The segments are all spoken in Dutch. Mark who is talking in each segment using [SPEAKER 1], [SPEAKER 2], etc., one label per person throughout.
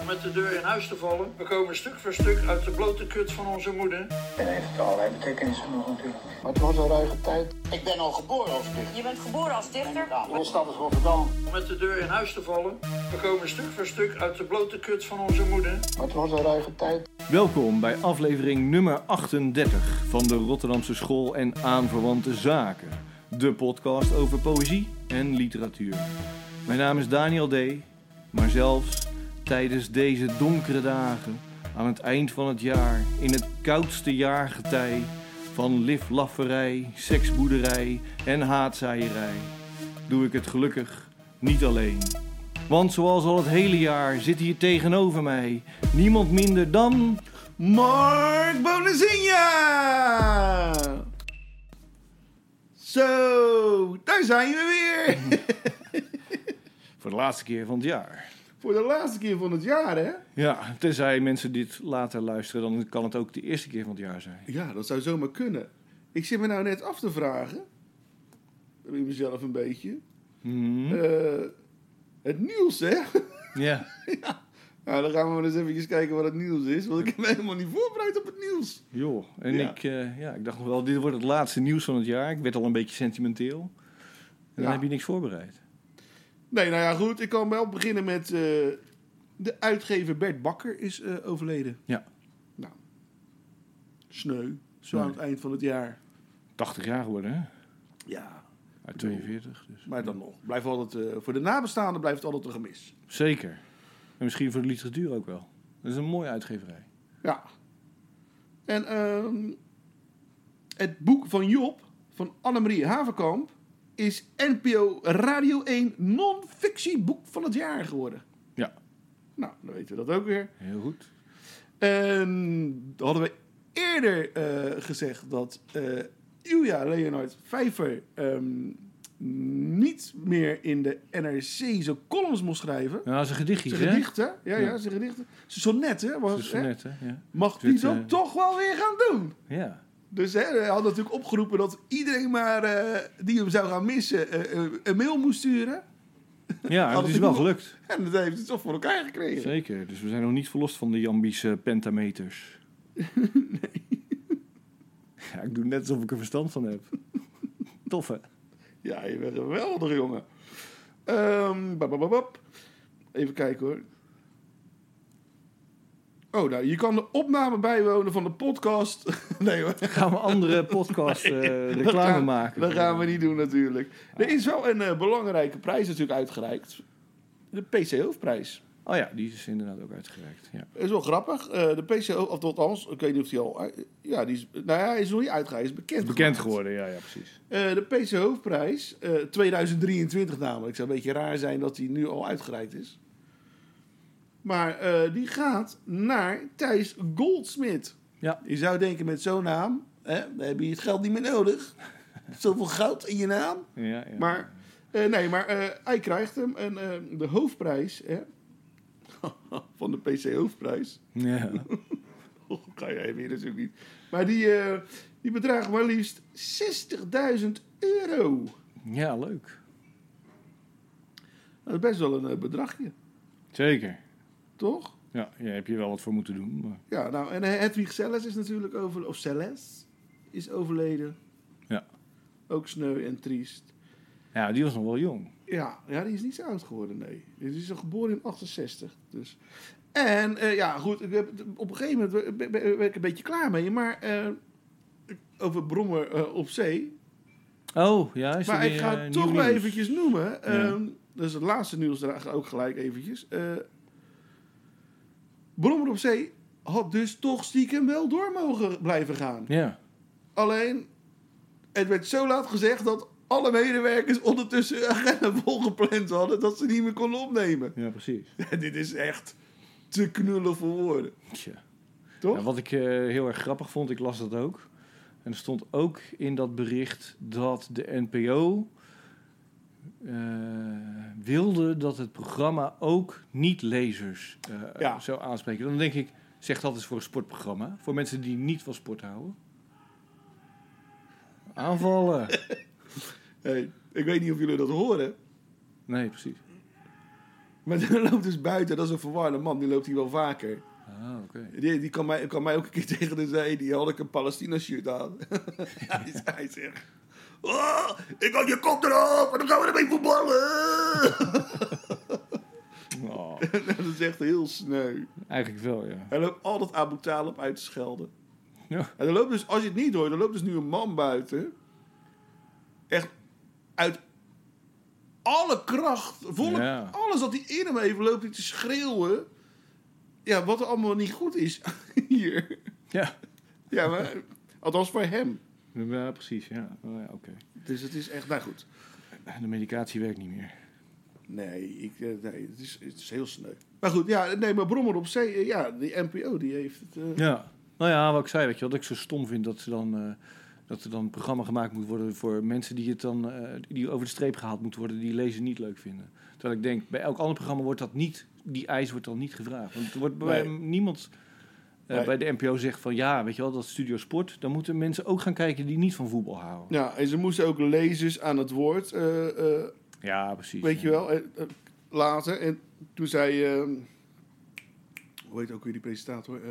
[SPEAKER 1] om met de deur in huis te vallen. We komen stuk voor stuk uit de blote kut van onze moeder.
[SPEAKER 2] En heeft allerlei betekenissen nog natuurlijk.
[SPEAKER 3] Maar het was een ruige tijd.
[SPEAKER 4] Ik ben al geboren als dichter.
[SPEAKER 5] Je bent geboren als dichter?
[SPEAKER 4] Mijn stad is Rotterdam.
[SPEAKER 1] Om met de deur in huis te vallen. We komen stuk voor stuk uit de blote kut van onze moeder.
[SPEAKER 3] Maar het was een ruige tijd.
[SPEAKER 6] Welkom bij aflevering nummer 38 van de Rotterdamse School en Aanverwante Zaken. De podcast over poëzie en literatuur. Mijn naam is Daniel D. Maar zelfs tijdens deze donkere dagen, aan het eind van het jaar, in het koudste jaargetij van liflafferij, seksboerderij en haatzaaierij, doe ik het gelukkig niet alleen. Want zoals al het hele jaar zit hier tegenover mij niemand minder dan.
[SPEAKER 7] Mark Bonazinha! Zo, daar zijn we weer!
[SPEAKER 6] Voor de laatste keer van het jaar.
[SPEAKER 7] Voor de laatste keer van het jaar, hè?
[SPEAKER 6] Ja, tenzij mensen dit later luisteren, dan kan het ook de eerste keer van het jaar zijn.
[SPEAKER 7] Ja, dat zou zomaar kunnen. Ik zit me nou net af te vragen, bij mezelf een beetje,
[SPEAKER 6] Hmm,
[SPEAKER 7] eh, het nieuws, hè?
[SPEAKER 6] Ja.
[SPEAKER 7] Nou, dan gaan we maar eens eventjes kijken wat het nieuws is, want ik ben helemaal niet voorbereid op het nieuws.
[SPEAKER 6] Joh, en
[SPEAKER 7] Ja.
[SPEAKER 6] Ik, eh, ja, ik dacht nog wel, dit wordt het laatste nieuws van het jaar. Ik werd al een beetje sentimenteel. En dan
[SPEAKER 7] Ja.
[SPEAKER 6] heb je niks voorbereid.
[SPEAKER 7] Nee, nou ja, goed, ik kan wel beginnen met eh, de uitgever Bert Bakker is eh, overleden.
[SPEAKER 6] Ja.
[SPEAKER 7] Nou, sneu, zo
[SPEAKER 6] Sneu.
[SPEAKER 7] aan het eind van het jaar.
[SPEAKER 6] 80 jaar geworden, hè?
[SPEAKER 7] Ja,
[SPEAKER 6] Uit 42. Dus.
[SPEAKER 7] Maar dan nog. Blijft altijd, eh, voor de nabestaanden blijft het altijd een gemis.
[SPEAKER 6] Zeker. En misschien voor de literatuur ook wel. Dat is een mooie uitgeverij.
[SPEAKER 7] Ja. En ehm, het boek van Job van Annemarie Haverkamp is NPO Radio 1 non-fictieboek van het jaar geworden.
[SPEAKER 6] Ja.
[SPEAKER 7] Nou, dan weten we dat ook weer.
[SPEAKER 6] Heel goed.
[SPEAKER 7] En dan hadden we eerder eh, gezegd dat eh Ilja Leonard Vijver ehm, niet meer in de NRC zijn columns moest schrijven.
[SPEAKER 6] Nou, zijn gedichtjes,
[SPEAKER 7] Zijn
[SPEAKER 6] hè?
[SPEAKER 7] gedichten, ja, ja,
[SPEAKER 6] Ja.
[SPEAKER 7] zijn gedichten. Zijn sonnetten, was
[SPEAKER 6] Zijn
[SPEAKER 7] het, hè?
[SPEAKER 6] sonnetten, ja.
[SPEAKER 7] Mag
[SPEAKER 6] Dit,
[SPEAKER 7] die dat
[SPEAKER 6] eh,
[SPEAKER 7] toch wel weer gaan doen?
[SPEAKER 6] Ja.
[SPEAKER 7] Dus hè, hij had natuurlijk opgeroepen dat iedereen maar eh, die hem zou gaan missen eh, eh, een mail moest sturen.
[SPEAKER 6] Ja,
[SPEAKER 7] Hadden
[SPEAKER 6] het is
[SPEAKER 7] we
[SPEAKER 6] wel
[SPEAKER 7] nog-
[SPEAKER 6] gelukt.
[SPEAKER 7] En dat heeft hij toch voor elkaar gekregen.
[SPEAKER 6] Zeker. Dus we zijn nog niet verlost van de Jambische pentameters. nee. Ja, ik doe net alsof ik er verstand van heb. Tof, hè?
[SPEAKER 7] Ja, je bent geweldig, jongen. Ehm, bap, bap, bap, bap. Even kijken hoor. Oh, nou, je kan de opname bijwonen van de podcast. nee hoor.
[SPEAKER 6] Gaan we andere podcast eh,
[SPEAKER 7] Dat
[SPEAKER 6] reclame
[SPEAKER 7] gaan-
[SPEAKER 6] maken?
[SPEAKER 7] Dat gaan we niet doen natuurlijk. Er is wel een eh, belangrijke prijs natuurlijk uitgereikt. De PC Hoofdprijs.
[SPEAKER 6] Oh ja, die is inderdaad ook uitgereikt. Ja.
[SPEAKER 7] Dat is wel grappig. Eh, de PC Hoofd, of althans, ik weet niet of die al... uit- ja, die is, nou ja, hij is nog niet uitgereikt. Hij is bekend
[SPEAKER 6] Bekend
[SPEAKER 7] geworden.
[SPEAKER 6] geworden, ja, ja, precies.
[SPEAKER 7] Eh, de PC Hoofdprijs, eh, 2023 namelijk. Zou een beetje raar zijn dat die nu al uitgereikt is. Maar eh, die gaat naar Thijs Goldsmit.
[SPEAKER 6] Ja.
[SPEAKER 7] Je zou denken met zo'n naam, hè, dan heb je het geld niet meer nodig. Zoveel goud in je naam.
[SPEAKER 6] Ja, ja.
[SPEAKER 7] Maar, eh, nee, maar eh, hij krijgt hem. En eh, de hoofdprijs, hè, van de PC Hoofdprijs.
[SPEAKER 6] Ja.
[SPEAKER 7] Oh, kan jij weer natuurlijk niet. Maar die, eh, die bedraagt maar liefst 60.000 euro.
[SPEAKER 6] ja, leuk.
[SPEAKER 7] Dat is best wel een eh, bedragje,
[SPEAKER 6] Zeker.
[SPEAKER 7] toch?
[SPEAKER 6] Ja, daar heb je wel wat voor moeten doen. Maar...
[SPEAKER 7] Ja, nou, en Hedwig Selles is natuurlijk over, of Selles is overleden.
[SPEAKER 6] Ja.
[SPEAKER 7] Ook sneu en triest.
[SPEAKER 6] Ja, die was nog wel jong.
[SPEAKER 7] Ja, ja, die is niet zo oud geworden, nee. Die is al geboren in 68, dus. En, eh, ja, goed, ik heb, op een gegeven moment ben- ben ben ik een beetje klaar mee, maar eh, over Brommer eh, op zee.
[SPEAKER 6] Oh, ja, is er
[SPEAKER 7] Maar ik
[SPEAKER 6] weer,
[SPEAKER 7] ga
[SPEAKER 6] eh,
[SPEAKER 7] het
[SPEAKER 6] nieuw
[SPEAKER 7] toch wel
[SPEAKER 6] nieuws?
[SPEAKER 7] eventjes noemen. ehm, dat is het laatste nieuws, daar ook gelijk eventjes. Eh Brommer op zee had dus toch stiekem wel door mogen blijven gaan.
[SPEAKER 6] Ja.
[SPEAKER 7] Alleen, het werd zo laat gezegd dat alle medewerkers ondertussen hun agenda volgepland hadden dat ze niet meer konden opnemen.
[SPEAKER 6] ja, precies.
[SPEAKER 7] Dit is echt te knullen voor woorden,
[SPEAKER 6] Tja.
[SPEAKER 7] toch?
[SPEAKER 6] Ja, wat ik eh, heel erg grappig vond, ik las dat ook. En er stond ook in dat bericht dat de NPO eh, wilde dat het programma ook niet-lezers eh,
[SPEAKER 7] Ja.
[SPEAKER 6] zou aanspreken. Dan denk ik, zeg dat eens voor een sportprogramma. Voor mensen die niet van sport houden. Aanvallen.
[SPEAKER 7] Hey, ik weet niet of jullie dat horen,
[SPEAKER 6] Nee, precies.
[SPEAKER 7] Maar die loopt dus buiten. Dat is een verwarde man. Die loopt hier wel vaker.
[SPEAKER 6] Ah, oké.
[SPEAKER 7] Die, die kan, mij, kan mij ook een keer tegen de zee. Die had ik een Palestina shirt aan. hij, is- hij zegt... "Oh, ik had je kop eraf en dan gaan we ermee voetballen.
[SPEAKER 6] Oh,
[SPEAKER 7] dat is echt heel sneu.
[SPEAKER 6] eigenlijk wel, ja.
[SPEAKER 7] Hij loopt altijd Abu Talib uit te schelden.
[SPEAKER 6] Ja.
[SPEAKER 7] En er loopt dus, als je het niet hoort, er loopt dus nu een man buiten. Echt uit alle kracht, volle,
[SPEAKER 6] Ja.
[SPEAKER 7] alles wat hij in hem heeft, loopt hij te schreeuwen. Ja, wat er allemaal niet goed is hier.
[SPEAKER 6] Ja,
[SPEAKER 7] Ja, maar, althans voor hem.
[SPEAKER 6] ja precies, ja. Oh, ja, oké.
[SPEAKER 7] Dus het is echt, nou goed.
[SPEAKER 6] De medicatie werkt niet meer.
[SPEAKER 7] Nee, ik, eh, nee het, is, het is heel sneu. Maar goed, ja, nee, maar Brommer op zee, eh, ja, die NPO, die heeft het... eh,
[SPEAKER 6] Ja. Nou ja, wat ik zei, weet je, wat ik zo stom vind, dat, ze dan, eh, dat er dan een programma gemaakt moet worden voor mensen die het dan eh, die over de streep gehaald moet worden, die lezen niet leuk vinden. Terwijl ik denk, bij elk ander programma wordt dat niet, die eis wordt dan niet gevraagd. Want er wordt bij
[SPEAKER 7] Nee.
[SPEAKER 6] niemand eh,
[SPEAKER 7] Nee.
[SPEAKER 6] bij de NPO zegt van ja, weet je wel, dat is studio sport, dan moeten mensen ook gaan kijken die niet van voetbal houden.
[SPEAKER 7] Ja, en ze moesten ook lezers aan het woord, eh, eh,
[SPEAKER 6] Ja, precies.
[SPEAKER 7] weet je
[SPEAKER 6] ja.
[SPEAKER 7] wel, eh, eh, later. En toen zei, eh, hoe heet ook weer die presentator? Eh,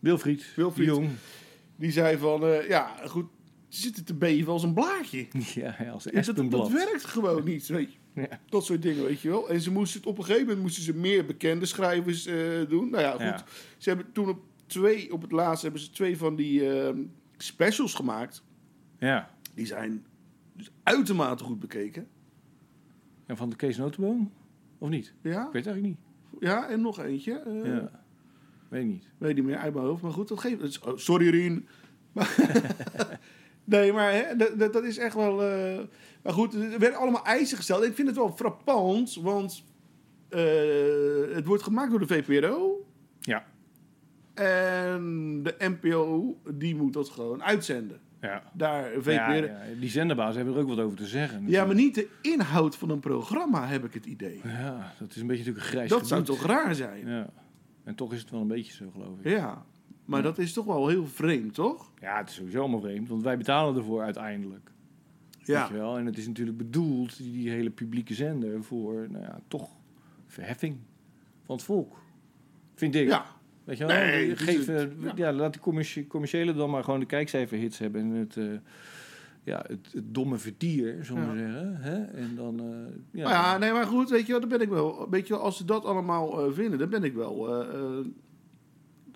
[SPEAKER 6] Wilfried,
[SPEAKER 7] Wilfried.
[SPEAKER 6] Jong.
[SPEAKER 7] die zei van, eh, ja, goed, ze zitten te beven als een blaadje.
[SPEAKER 6] Ja, ja, als
[SPEAKER 7] Ja, dat,
[SPEAKER 6] Espenblad.
[SPEAKER 7] dat werkt gewoon niet, weet je.
[SPEAKER 6] Ja.
[SPEAKER 7] Dat soort dingen, weet je wel. En ze moesten het op een gegeven moment moesten ze meer bekende schrijvers eh, doen. Nou ja, goed.
[SPEAKER 6] Ja.
[SPEAKER 7] Ze hebben toen op twee, op het laatst hebben ze twee van die eh, specials gemaakt.
[SPEAKER 6] Ja.
[SPEAKER 7] Die zijn dus uitermate goed bekeken.
[SPEAKER 6] En van de Kees Notenboom? Of niet?
[SPEAKER 7] Ja,
[SPEAKER 6] Ik weet het eigenlijk niet.
[SPEAKER 7] ja en nog eentje. eh,
[SPEAKER 6] Ja. Weet ik niet.
[SPEAKER 7] Weet niet meer uit mijn hoofd, maar goed, dat geeft. het is- oh, sorry, Rien. Maar- nee, maar hè, dat, dat- dat is echt wel. eh, maar goed, er werden allemaal eisen gesteld. Ik vind het wel frappant, want eh, het wordt gemaakt door de VPRO.
[SPEAKER 6] Ja.
[SPEAKER 7] En de NPO, die moet dat gewoon uitzenden.
[SPEAKER 6] Ja.
[SPEAKER 7] Daar, VPRO.
[SPEAKER 6] Ja,
[SPEAKER 7] Ja,
[SPEAKER 6] ja, Die zenderbaas hebben er ook wat over te zeggen.
[SPEAKER 7] maar niet de inhoud van een programma, heb ik het idee.
[SPEAKER 6] Ja, dat is een beetje natuurlijk een grijs
[SPEAKER 7] Dat zou
[SPEAKER 6] gebied.
[SPEAKER 7] toch raar zijn? Ja,
[SPEAKER 6] Ja. En toch is het wel een beetje zo, geloof ik.
[SPEAKER 7] maar dat is toch wel heel vreemd, toch?
[SPEAKER 6] Ja, het is sowieso allemaal vreemd, want wij betalen ervoor uiteindelijk. Weet je wel? En het is natuurlijk bedoeld, die, die hele publieke zender, voor, nou ja, toch verheffing van het volk. Vind ik.
[SPEAKER 7] Ja,
[SPEAKER 6] Weet je wel?
[SPEAKER 7] Nee,
[SPEAKER 6] Die
[SPEAKER 7] dit
[SPEAKER 6] geef,
[SPEAKER 7] is het.
[SPEAKER 6] eh, ja. laat die commercie- commerciële dan maar gewoon de kijkcijferhits hebben. En het, eh, ja, het, het domme vertier, zullen we
[SPEAKER 7] Ja.
[SPEAKER 6] zeggen. Hè? En dan, eh, ja,
[SPEAKER 7] Nou ja, nee, maar goed, weet je wel, dan ben ik wel. Weet je wel, als ze dat allemaal eh, vinden, dan ben ik wel. eh, eh,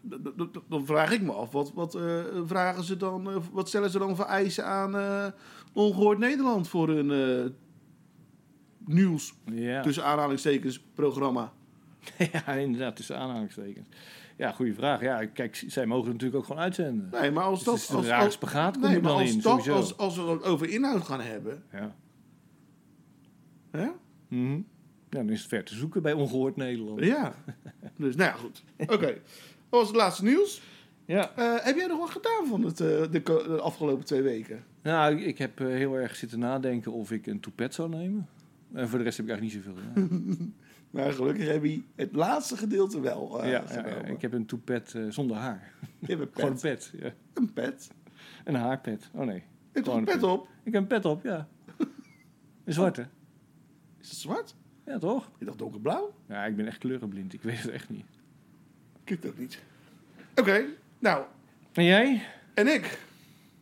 [SPEAKER 7] d- d- d- d- dan vraag ik me af, wat, wat, eh, vragen ze dan, eh, wat stellen ze dan voor eisen aan eh, Ongehoord Nederland voor hun eh, nieuws,
[SPEAKER 6] ja.
[SPEAKER 7] tussen aanhalingstekens, programma?
[SPEAKER 6] ja, inderdaad, tussen aanhalingstekens. Ja, goede vraag. Ja, kijk, z- zij mogen het natuurlijk ook gewoon uitzenden.
[SPEAKER 7] Nee, maar als
[SPEAKER 6] Dus
[SPEAKER 7] dat.
[SPEAKER 6] het is een
[SPEAKER 7] als,
[SPEAKER 6] rare
[SPEAKER 7] als-
[SPEAKER 6] spagaat kom
[SPEAKER 7] nee,
[SPEAKER 6] je
[SPEAKER 7] maar
[SPEAKER 6] dan
[SPEAKER 7] als,
[SPEAKER 6] in,
[SPEAKER 7] dat,
[SPEAKER 6] sowieso.
[SPEAKER 7] als, als we het over inhoud gaan hebben,
[SPEAKER 6] Ja.
[SPEAKER 7] hè?
[SPEAKER 6] Mhm. ja, dan is het ver te zoeken bij Ongehoord Nederland.
[SPEAKER 7] Ja. dus, nou ja, goed. Oké. Dat was het laatste nieuws.
[SPEAKER 6] Ja.
[SPEAKER 7] Eh, heb jij nog wat gedaan van het, eh, de, ko- de afgelopen twee weken?
[SPEAKER 6] Nou, ik- ik heb eh, heel erg zitten nadenken of ik een toepet zou nemen. En voor de rest heb ik eigenlijk niet zoveel gedaan.
[SPEAKER 7] Maar gelukkig heb je het laatste gedeelte wel
[SPEAKER 6] ja,
[SPEAKER 7] eh
[SPEAKER 6] ja,
[SPEAKER 7] genomen.
[SPEAKER 6] ja,
[SPEAKER 7] ik
[SPEAKER 6] ik heb een toepet eh, zonder haar.
[SPEAKER 7] heb een
[SPEAKER 6] Gewoon een
[SPEAKER 7] pet.
[SPEAKER 6] pet. Ja.
[SPEAKER 7] Een pet.
[SPEAKER 6] Een haarpet. Oh nee.
[SPEAKER 7] Ik heb
[SPEAKER 6] Gewoon
[SPEAKER 7] een
[SPEAKER 6] een
[SPEAKER 7] pet
[SPEAKER 6] pet.
[SPEAKER 7] op.
[SPEAKER 6] Ik heb een pet op, ja. Een zwarte.
[SPEAKER 7] Is het zwart?
[SPEAKER 6] Ja, toch?
[SPEAKER 7] Ik dacht donkerblauw.
[SPEAKER 6] Ja, ik ben echt kleurenblind. Ik weet het echt niet.
[SPEAKER 7] Ik weet het ook niet. Oké, nou.
[SPEAKER 6] En jij?
[SPEAKER 7] En ik?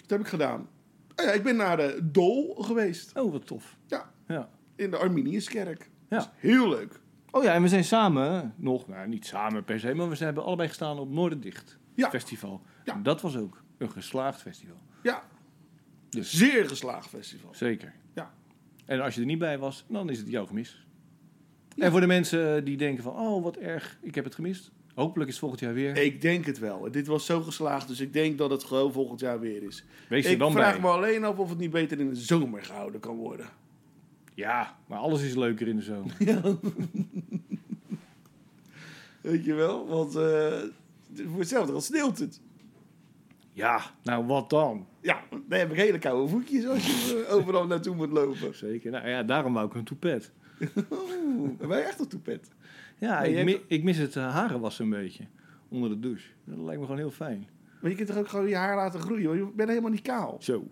[SPEAKER 7] Wat heb ik gedaan? Oh ja, ik ben naar de Dol geweest.
[SPEAKER 6] Oh, wat tof.
[SPEAKER 7] Ja,
[SPEAKER 6] Ja.
[SPEAKER 7] in de Arminiuskerk.
[SPEAKER 6] Ja.
[SPEAKER 7] Dat is heel leuk.
[SPEAKER 6] Oh ja, en we zijn samen, nog, nou niet samen per se, maar we zijn- hebben allebei gestaan op Noorderdicht
[SPEAKER 7] Ja.
[SPEAKER 6] Festival.
[SPEAKER 7] Ja.
[SPEAKER 6] En dat was ook een geslaagd festival.
[SPEAKER 7] Ja.
[SPEAKER 6] Dus.
[SPEAKER 7] Zeer geslaagd festival.
[SPEAKER 6] Zeker.
[SPEAKER 7] Ja.
[SPEAKER 6] En als je er niet bij was, dan is het jouw gemis. En voor de mensen die denken van, oh wat erg, ik heb het gemist. Hopelijk is het volgend jaar weer.
[SPEAKER 7] Ik denk het wel. Dit was zo geslaagd, dus ik denk dat het gewoon volgend jaar weer is.
[SPEAKER 6] Wees er
[SPEAKER 7] ik
[SPEAKER 6] dan
[SPEAKER 7] vraag
[SPEAKER 6] bij.
[SPEAKER 7] me alleen af of het niet beter in de zomer gehouden kan worden.
[SPEAKER 6] Ja, maar alles is leuker in de zomer.
[SPEAKER 7] Weet je wel? Want eh, voor hetzelfde geld sneeuwt het.
[SPEAKER 6] ja, nou wat dan?
[SPEAKER 7] Ja, dan heb ik hele koude voetjes als je eh, overal naartoe moet lopen.
[SPEAKER 6] Zeker. Nou ja, daarom wou ik een toepet.
[SPEAKER 7] Oeh, ben je echt een toepet?
[SPEAKER 6] Ja,
[SPEAKER 7] Nee,
[SPEAKER 6] ik,
[SPEAKER 7] jij
[SPEAKER 6] mi-
[SPEAKER 7] hebt-
[SPEAKER 6] ik mis het eh, haren wassen een beetje. Onder de douche. Dat lijkt me gewoon heel fijn.
[SPEAKER 7] Maar je kunt toch ook gewoon je haar laten groeien? Want je bent helemaal niet kaal.
[SPEAKER 6] Zo.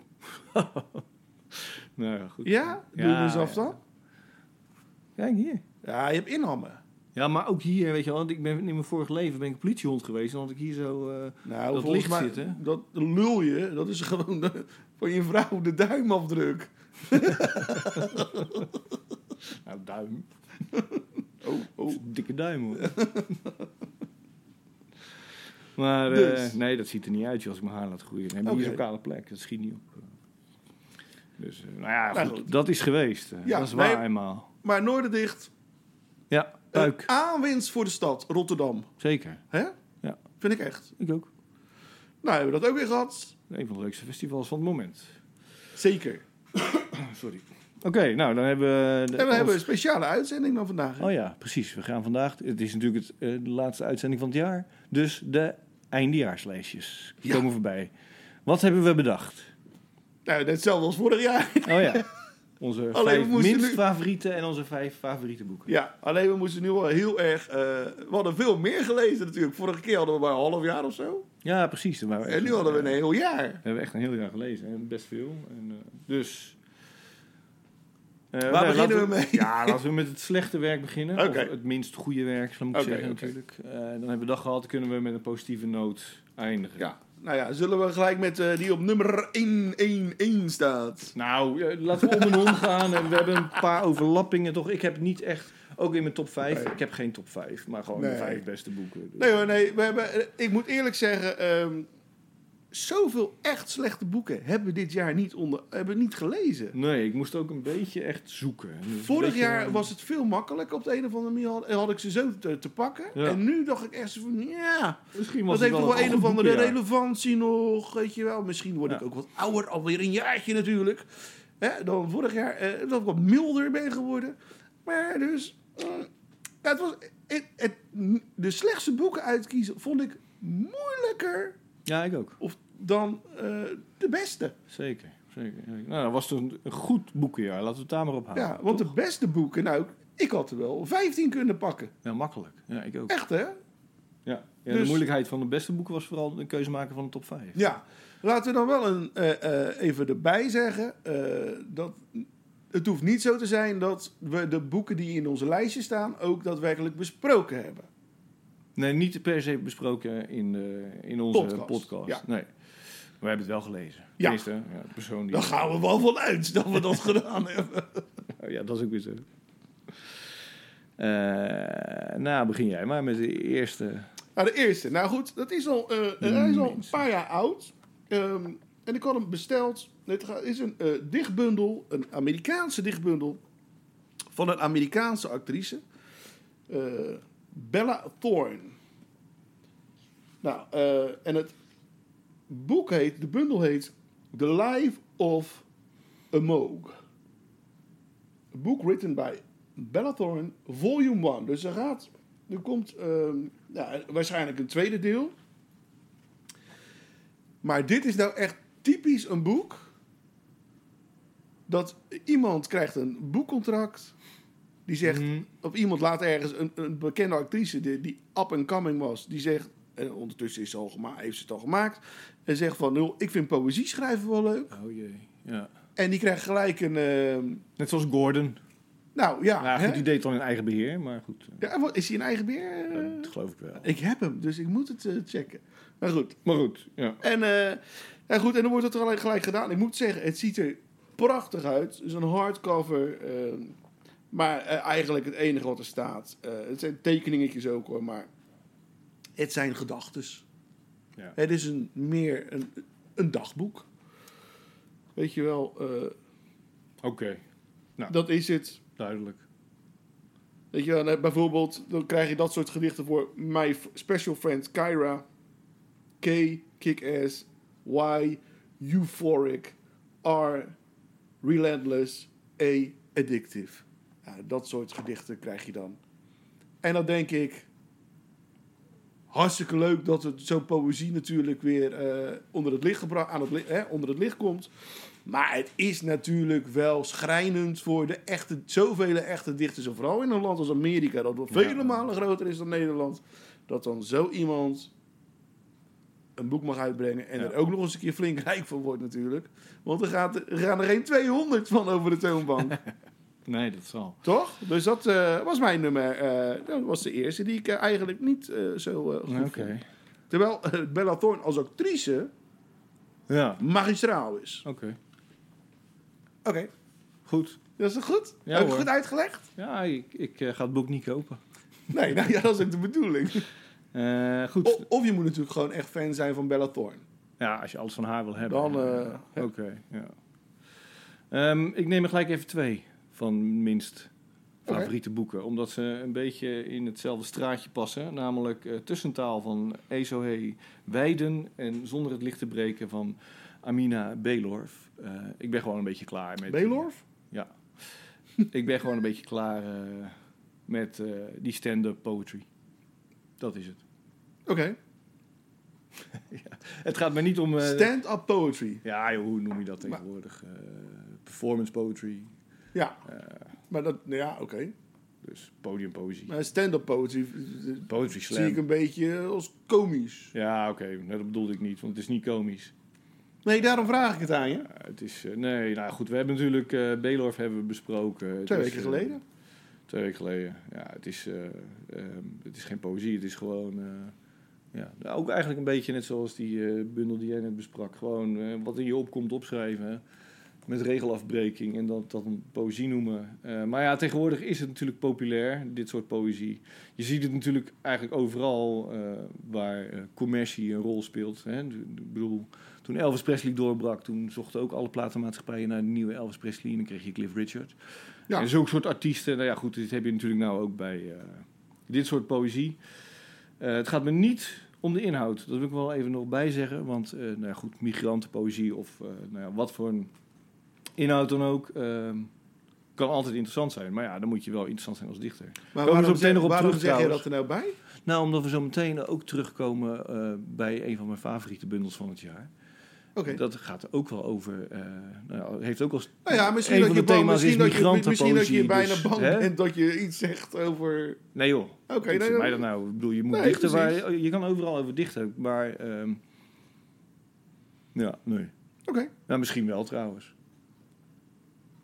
[SPEAKER 6] nou ja, goed.
[SPEAKER 7] Ja? Doe je
[SPEAKER 6] Ja,
[SPEAKER 7] dus af
[SPEAKER 6] ja.
[SPEAKER 7] dan?
[SPEAKER 6] Kijk hier.
[SPEAKER 7] Ja, je hebt inhammen.
[SPEAKER 6] Ja, maar ook hier, weet je wel, ik ben, in mijn vorige leven ben ik politiehond geweest. En dan had ik hier zo... eh,
[SPEAKER 7] Nou,
[SPEAKER 6] Dat
[SPEAKER 7] volgens
[SPEAKER 6] licht zit, hè?
[SPEAKER 7] Dat lul je, dat is gewoon de- van je vrouw de duimafdruk.
[SPEAKER 6] nou, duim.
[SPEAKER 7] Oh, oh.
[SPEAKER 6] Dikke duim, hoor. maar eh,
[SPEAKER 7] Dus.
[SPEAKER 6] nee, dat ziet er niet uit joh, als ik mijn haar laat groeien. Nee, maar hier is
[SPEAKER 7] Oké.
[SPEAKER 6] een kale plek, dat schiet niet op. Dus, eh, nou ja,
[SPEAKER 7] Nou,
[SPEAKER 6] goed,
[SPEAKER 7] goed.
[SPEAKER 6] dat is geweest. eh.
[SPEAKER 7] Ja,
[SPEAKER 6] dat is waar
[SPEAKER 7] nee.
[SPEAKER 6] eenmaal. Eh?
[SPEAKER 7] Maar Noorderdicht,
[SPEAKER 6] Ja,
[SPEAKER 7] een
[SPEAKER 6] puik.
[SPEAKER 7] aanwinst voor de stad Rotterdam.
[SPEAKER 6] Zeker.
[SPEAKER 7] Hè?
[SPEAKER 6] Ja.
[SPEAKER 7] Vind ik echt.
[SPEAKER 6] Ik ook.
[SPEAKER 7] Nou, hebben we dat ook weer gehad?
[SPEAKER 6] Een van de leukste festivals van het moment.
[SPEAKER 7] Zeker.
[SPEAKER 6] Oh, Sorry. Oké, nou, dan hebben we... de-
[SPEAKER 7] En we
[SPEAKER 6] als-
[SPEAKER 7] hebben een speciale uitzending dan vandaag. hè?
[SPEAKER 6] Oh ja, precies. We gaan vandaag. Het is natuurlijk het, eh, de laatste uitzending van het jaar. Dus de eindejaarslijstjes
[SPEAKER 7] Ja.
[SPEAKER 6] komen voorbij. Wat hebben we bedacht?
[SPEAKER 7] Nou, hetzelfde als vorig jaar.
[SPEAKER 6] Oh ja, onze
[SPEAKER 7] Alleen, we
[SPEAKER 6] vijf
[SPEAKER 7] moesten
[SPEAKER 6] minst
[SPEAKER 7] nu-
[SPEAKER 6] favoriete en onze vijf favoriete boeken.
[SPEAKER 7] Ja, alleen we moesten nu wel heel erg... eh, we hadden veel meer gelezen natuurlijk. Vorige keer hadden we maar een half jaar of zo.
[SPEAKER 6] Ja, precies. daar waren we
[SPEAKER 7] En
[SPEAKER 6] echt-
[SPEAKER 7] nu hadden we een heel jaar.
[SPEAKER 6] We hebben echt een heel jaar gelezen. En best veel. En, eh, dus... eh,
[SPEAKER 7] Waar
[SPEAKER 6] nou,
[SPEAKER 7] beginnen
[SPEAKER 6] laten
[SPEAKER 7] we mee?
[SPEAKER 6] Ja, laten we met het slechte werk beginnen.
[SPEAKER 7] Oké.
[SPEAKER 6] Of het minst goede werk, zal ik
[SPEAKER 7] Oké,
[SPEAKER 6] zeggen
[SPEAKER 7] oké.
[SPEAKER 6] natuurlijk. Eh, dan hebben we dag gehad, kunnen we met een positieve noot eindigen.
[SPEAKER 7] Ja. Nou ja, zullen we gelijk met eh, die op nummer 111 staat.
[SPEAKER 6] Nou, eh, laten we om en om gaan. En we hebben een paar overlappingen toch. Ik heb niet echt, ook in mijn top 5. Ik heb geen top 5, maar gewoon de
[SPEAKER 7] Nee.
[SPEAKER 6] vijf beste boeken. Dus-
[SPEAKER 7] Nee hoor, nee. We hebben, eh, ik moet eerlijk zeggen... ehm, zoveel echt slechte boeken hebben we dit jaar niet, onder, hebben we niet gelezen.
[SPEAKER 6] Nee, ik moest ook een beetje echt zoeken. En dat is een
[SPEAKER 7] Vorig
[SPEAKER 6] beetje-
[SPEAKER 7] jaar was het veel makkelijker op de een of andere manier. Had, had ik ze zo te, te pakken.
[SPEAKER 6] Ja.
[SPEAKER 7] En nu dacht ik echt zo van, ja,
[SPEAKER 6] Misschien was
[SPEAKER 7] dat heeft
[SPEAKER 6] het
[SPEAKER 7] toch wel een
[SPEAKER 6] goed
[SPEAKER 7] of andere
[SPEAKER 6] boekenjaar.
[SPEAKER 7] relevantie nog. Weet je wel, misschien word ik
[SPEAKER 6] Ja.
[SPEAKER 7] ook wat ouder, alweer een jaartje natuurlijk. Hè, dan vorig jaar, eh, dat ik wat milder ben geworden. Maar dus, mm, ja, het was, het, het- de slechtste boeken uitkiezen vond ik moeilijker
[SPEAKER 6] Ja, ik ook.
[SPEAKER 7] of, dan eh, de beste.
[SPEAKER 6] Zeker. zeker. zeker. Nou, dat was toch een een goed boekenjaar. Laten we het daar maar op houden.
[SPEAKER 7] Ja, want de beste boeken, nou, ik had er wel 15 kunnen pakken.
[SPEAKER 6] Ja, makkelijk. Ja, ik ook.
[SPEAKER 7] Echt hè?
[SPEAKER 6] Ja. Ja, De
[SPEAKER 7] Dus-
[SPEAKER 6] moeilijkheid van de beste boeken was vooral een keuze maken van de top 5.
[SPEAKER 7] Ja, laten we dan wel een, eh, eh, even erbij zeggen. eh, dat het hoeft niet zo te zijn dat we de boeken die in onze lijstje staan ook daadwerkelijk besproken hebben.
[SPEAKER 6] Nee, niet per se besproken in, eh, in onze podcast.
[SPEAKER 7] Podcast, ja.
[SPEAKER 6] Nee. We hebben het wel gelezen.
[SPEAKER 7] Ja.
[SPEAKER 6] Tenminste, ja, de persoon die...
[SPEAKER 7] Daar gaan we wel van uit dat we dat gedaan hebben.
[SPEAKER 6] Oh ja, dat is ook weer zo. Eh, nou, begin jij maar met de eerste.
[SPEAKER 7] Nou, de eerste. Nou goed, dat is al, eh, hij is al een paar jaar oud. Ehm, en ik had hem besteld. Het ga- is een eh, dichtbundel, een Amerikaanse dichtbundel van een Amerikaanse actrice, eh, Bella Thorne. Nou, eh, en het boek heet, de bundel heet The Life of a Moog. Een boek written by Bella Thorne, volume 1. Dus er gaat, er komt ehm, ja, waarschijnlijk een tweede deel. Maar dit is nou echt typisch een boek. Dat iemand krijgt een boekcontract. Die zegt, of iemand laat ergens een, een bekende actrice die, die up and coming was. Die zegt, en ondertussen is ze al gema- heeft ze het al gemaakt. En zegt van, "Nul, ik vind poëzie schrijven wel leuk.
[SPEAKER 6] Oh jee. Ja.
[SPEAKER 7] En die krijgt gelijk een, ehm,
[SPEAKER 6] Net zoals Gordon.
[SPEAKER 7] nou ja.
[SPEAKER 6] Nou,
[SPEAKER 7] hè?
[SPEAKER 6] goed, die deed het dan in eigen beheer, maar goed. eh,
[SPEAKER 7] Ja, wat- is hij een eigen beer? eh?
[SPEAKER 6] Dat geloof ik wel.
[SPEAKER 7] Ik heb hem, dus ik moet het eh, checken. Maar goed.
[SPEAKER 6] Maar goed, ja.
[SPEAKER 7] En, eh, ja, goed, en dan wordt het er gelijk, gelijk gedaan. Ik moet zeggen, het ziet er prachtig uit. Het is een hardcover. eh, maar eh, eigenlijk het enige wat er staat. eh, het zijn tekeningetjes ook hoor, maar het zijn gedachten.
[SPEAKER 6] Ja.
[SPEAKER 7] Het is een, meer een, een dagboek. Weet je wel, eh,
[SPEAKER 6] Oké,
[SPEAKER 7] dat is het.
[SPEAKER 6] duidelijk.
[SPEAKER 7] Weet je wel, eh, bijvoorbeeld, dan krijg je dat soort gedichten voor My F- Special Friend Kyra, K, Kick-Ass, Y, Euphoric, R, Relentless, A, Addictive. Ja, dat soort gedichten krijg je dan. En dan denk ik, hartstikke leuk dat het zo'n poëzie natuurlijk weer eh, onder, het licht gebra- aan het li- hè, onder het licht komt. Maar het is natuurlijk wel schrijnend voor de echte, zoveel echte dichters. En vooral in een land als Amerika, dat wel vele malen groter is dan Nederland. Dat dan zo iemand een boek mag uitbrengen. En
[SPEAKER 6] Ja.
[SPEAKER 7] er ook nog eens een keer flink rijk van wordt natuurlijk. Want er, gaat, er gaan er geen 200 van over de toonbank.
[SPEAKER 6] Nee, dat zal.
[SPEAKER 7] Toch? Dus dat eh, was mijn nummer. eh, dat was de eerste die ik eh, eigenlijk niet eh, zo eh, goed
[SPEAKER 6] Oké.
[SPEAKER 7] vond. Terwijl eh, Bella Thorne als actrice
[SPEAKER 6] Ja,
[SPEAKER 7] magistraal is.
[SPEAKER 6] oké.
[SPEAKER 7] Oké.
[SPEAKER 6] Goed.
[SPEAKER 7] Dat is toch goed?
[SPEAKER 6] Ja,
[SPEAKER 7] Heb ik
[SPEAKER 6] hoor.
[SPEAKER 7] goed uitgelegd?
[SPEAKER 6] Ja, ik, ik eh, ga het boek niet kopen.
[SPEAKER 7] Nee, nou, ja, dat is ook de bedoeling.
[SPEAKER 6] Eh, goed.
[SPEAKER 7] O- of je moet natuurlijk gewoon echt fan zijn van Bella Thorne.
[SPEAKER 6] Ja, als je alles van haar wil hebben.
[SPEAKER 7] Dan,
[SPEAKER 6] Ja.
[SPEAKER 7] eh,
[SPEAKER 6] Oké, ja. Ehm, ik neem er gelijk even twee van minst
[SPEAKER 7] Oké.
[SPEAKER 6] favoriete boeken. Omdat ze een beetje in hetzelfde straatje passen. Namelijk eh, Tussentaal van Ezohe Weiden en Zonder het licht te breken van Amina Belorf. Eh, ik ben gewoon een beetje klaar met... die-
[SPEAKER 7] Belorf?
[SPEAKER 6] Ja. ik ben gewoon een beetje klaar eh, met eh, die stand-up poetry. Dat is het.
[SPEAKER 7] Oké.
[SPEAKER 6] Het gaat me niet om... eh,
[SPEAKER 7] Stand-up poetry.
[SPEAKER 6] Ja, joh, hoe noem je dat tegenwoordig? Eh, performance poetry,
[SPEAKER 7] Ja. maar dat, nou ja, oké.
[SPEAKER 6] dus podiumpoëzie.
[SPEAKER 7] Maar stand-up poetry eh,
[SPEAKER 6] Poetry
[SPEAKER 7] zie ik
[SPEAKER 6] slam.
[SPEAKER 7] een beetje als komisch.
[SPEAKER 6] Ja, oké, nou, dat bedoelde ik niet, want het is niet komisch.
[SPEAKER 7] Nee, daarom vraag ik het aan je.
[SPEAKER 6] Eh, het is, eh, nee, nou goed, we hebben natuurlijk eh Belorf hebben we besproken. Het
[SPEAKER 7] Twee
[SPEAKER 6] is,
[SPEAKER 7] weken
[SPEAKER 6] eh,
[SPEAKER 7] geleden.
[SPEAKER 6] twee weken geleden, ja, het is, eh, ehm, het is geen poëzie, het is gewoon... eh, ja, nou, ook eigenlijk een beetje net zoals die eh, bundel die jij net besprak. Gewoon eh, wat in je opkomt opschrijven. hè. Met regelafbreking en dat, dat een poëzie noemen. Eh, maar ja, tegenwoordig is het natuurlijk populair, dit soort poëzie. Je ziet het natuurlijk eigenlijk overal eh, waar eh, commercie een rol speelt. Hè. Ik bedoel, toen Elvis Presley doorbrak, toen zochten ook alle platenmaatschappijen naar de nieuwe Elvis Presley. En dan kreeg je Cliff Richard.
[SPEAKER 7] Ja.
[SPEAKER 6] En zulke soort artiesten, nou ja goed, dit heb je natuurlijk nou ook bij eh, dit soort poëzie. Eh, het gaat me niet om de inhoud. Dat wil ik wel even nog bijzeggen. Want eh, nou ja, goed, migrantenpoëzie of eh, nou ja, wat voor een inhoud dan ook... ehm, kan altijd interessant zijn. Maar ja, dan moet je wel interessant zijn als dichter. Komen
[SPEAKER 7] Maar
[SPEAKER 6] we zo
[SPEAKER 7] waarom,
[SPEAKER 6] meteen
[SPEAKER 7] zeg,
[SPEAKER 6] nog op
[SPEAKER 7] waarom
[SPEAKER 6] terug,
[SPEAKER 7] zeg je dat
[SPEAKER 6] trouwens.
[SPEAKER 7] er nou bij?
[SPEAKER 6] Nou, omdat we zo meteen ook terugkomen eh, bij een van mijn favoriete bundels van het jaar.
[SPEAKER 7] Oké.
[SPEAKER 6] Dat gaat ook wel over... eh, nou ja, heeft ook wel
[SPEAKER 7] Nou ja, misschien
[SPEAKER 6] Een
[SPEAKER 7] dat
[SPEAKER 6] van de
[SPEAKER 7] je bang,
[SPEAKER 6] thema's
[SPEAKER 7] misschien
[SPEAKER 6] is
[SPEAKER 7] dat je, misschien dat je
[SPEAKER 6] migrantenpoëzie, dus,
[SPEAKER 7] bijna bang
[SPEAKER 6] hè?
[SPEAKER 7] bent dat je iets zegt over.
[SPEAKER 6] Nee joh. Oké,
[SPEAKER 7] nee,
[SPEAKER 6] nee,
[SPEAKER 7] dat-
[SPEAKER 6] mij dat nou. Ik bedoel, je moet
[SPEAKER 7] Nee,
[SPEAKER 6] dichten
[SPEAKER 7] precies.
[SPEAKER 6] waar je kan overal over dichten, maar ehm, ja, nee.
[SPEAKER 7] Oké.
[SPEAKER 6] Nou, misschien wel trouwens.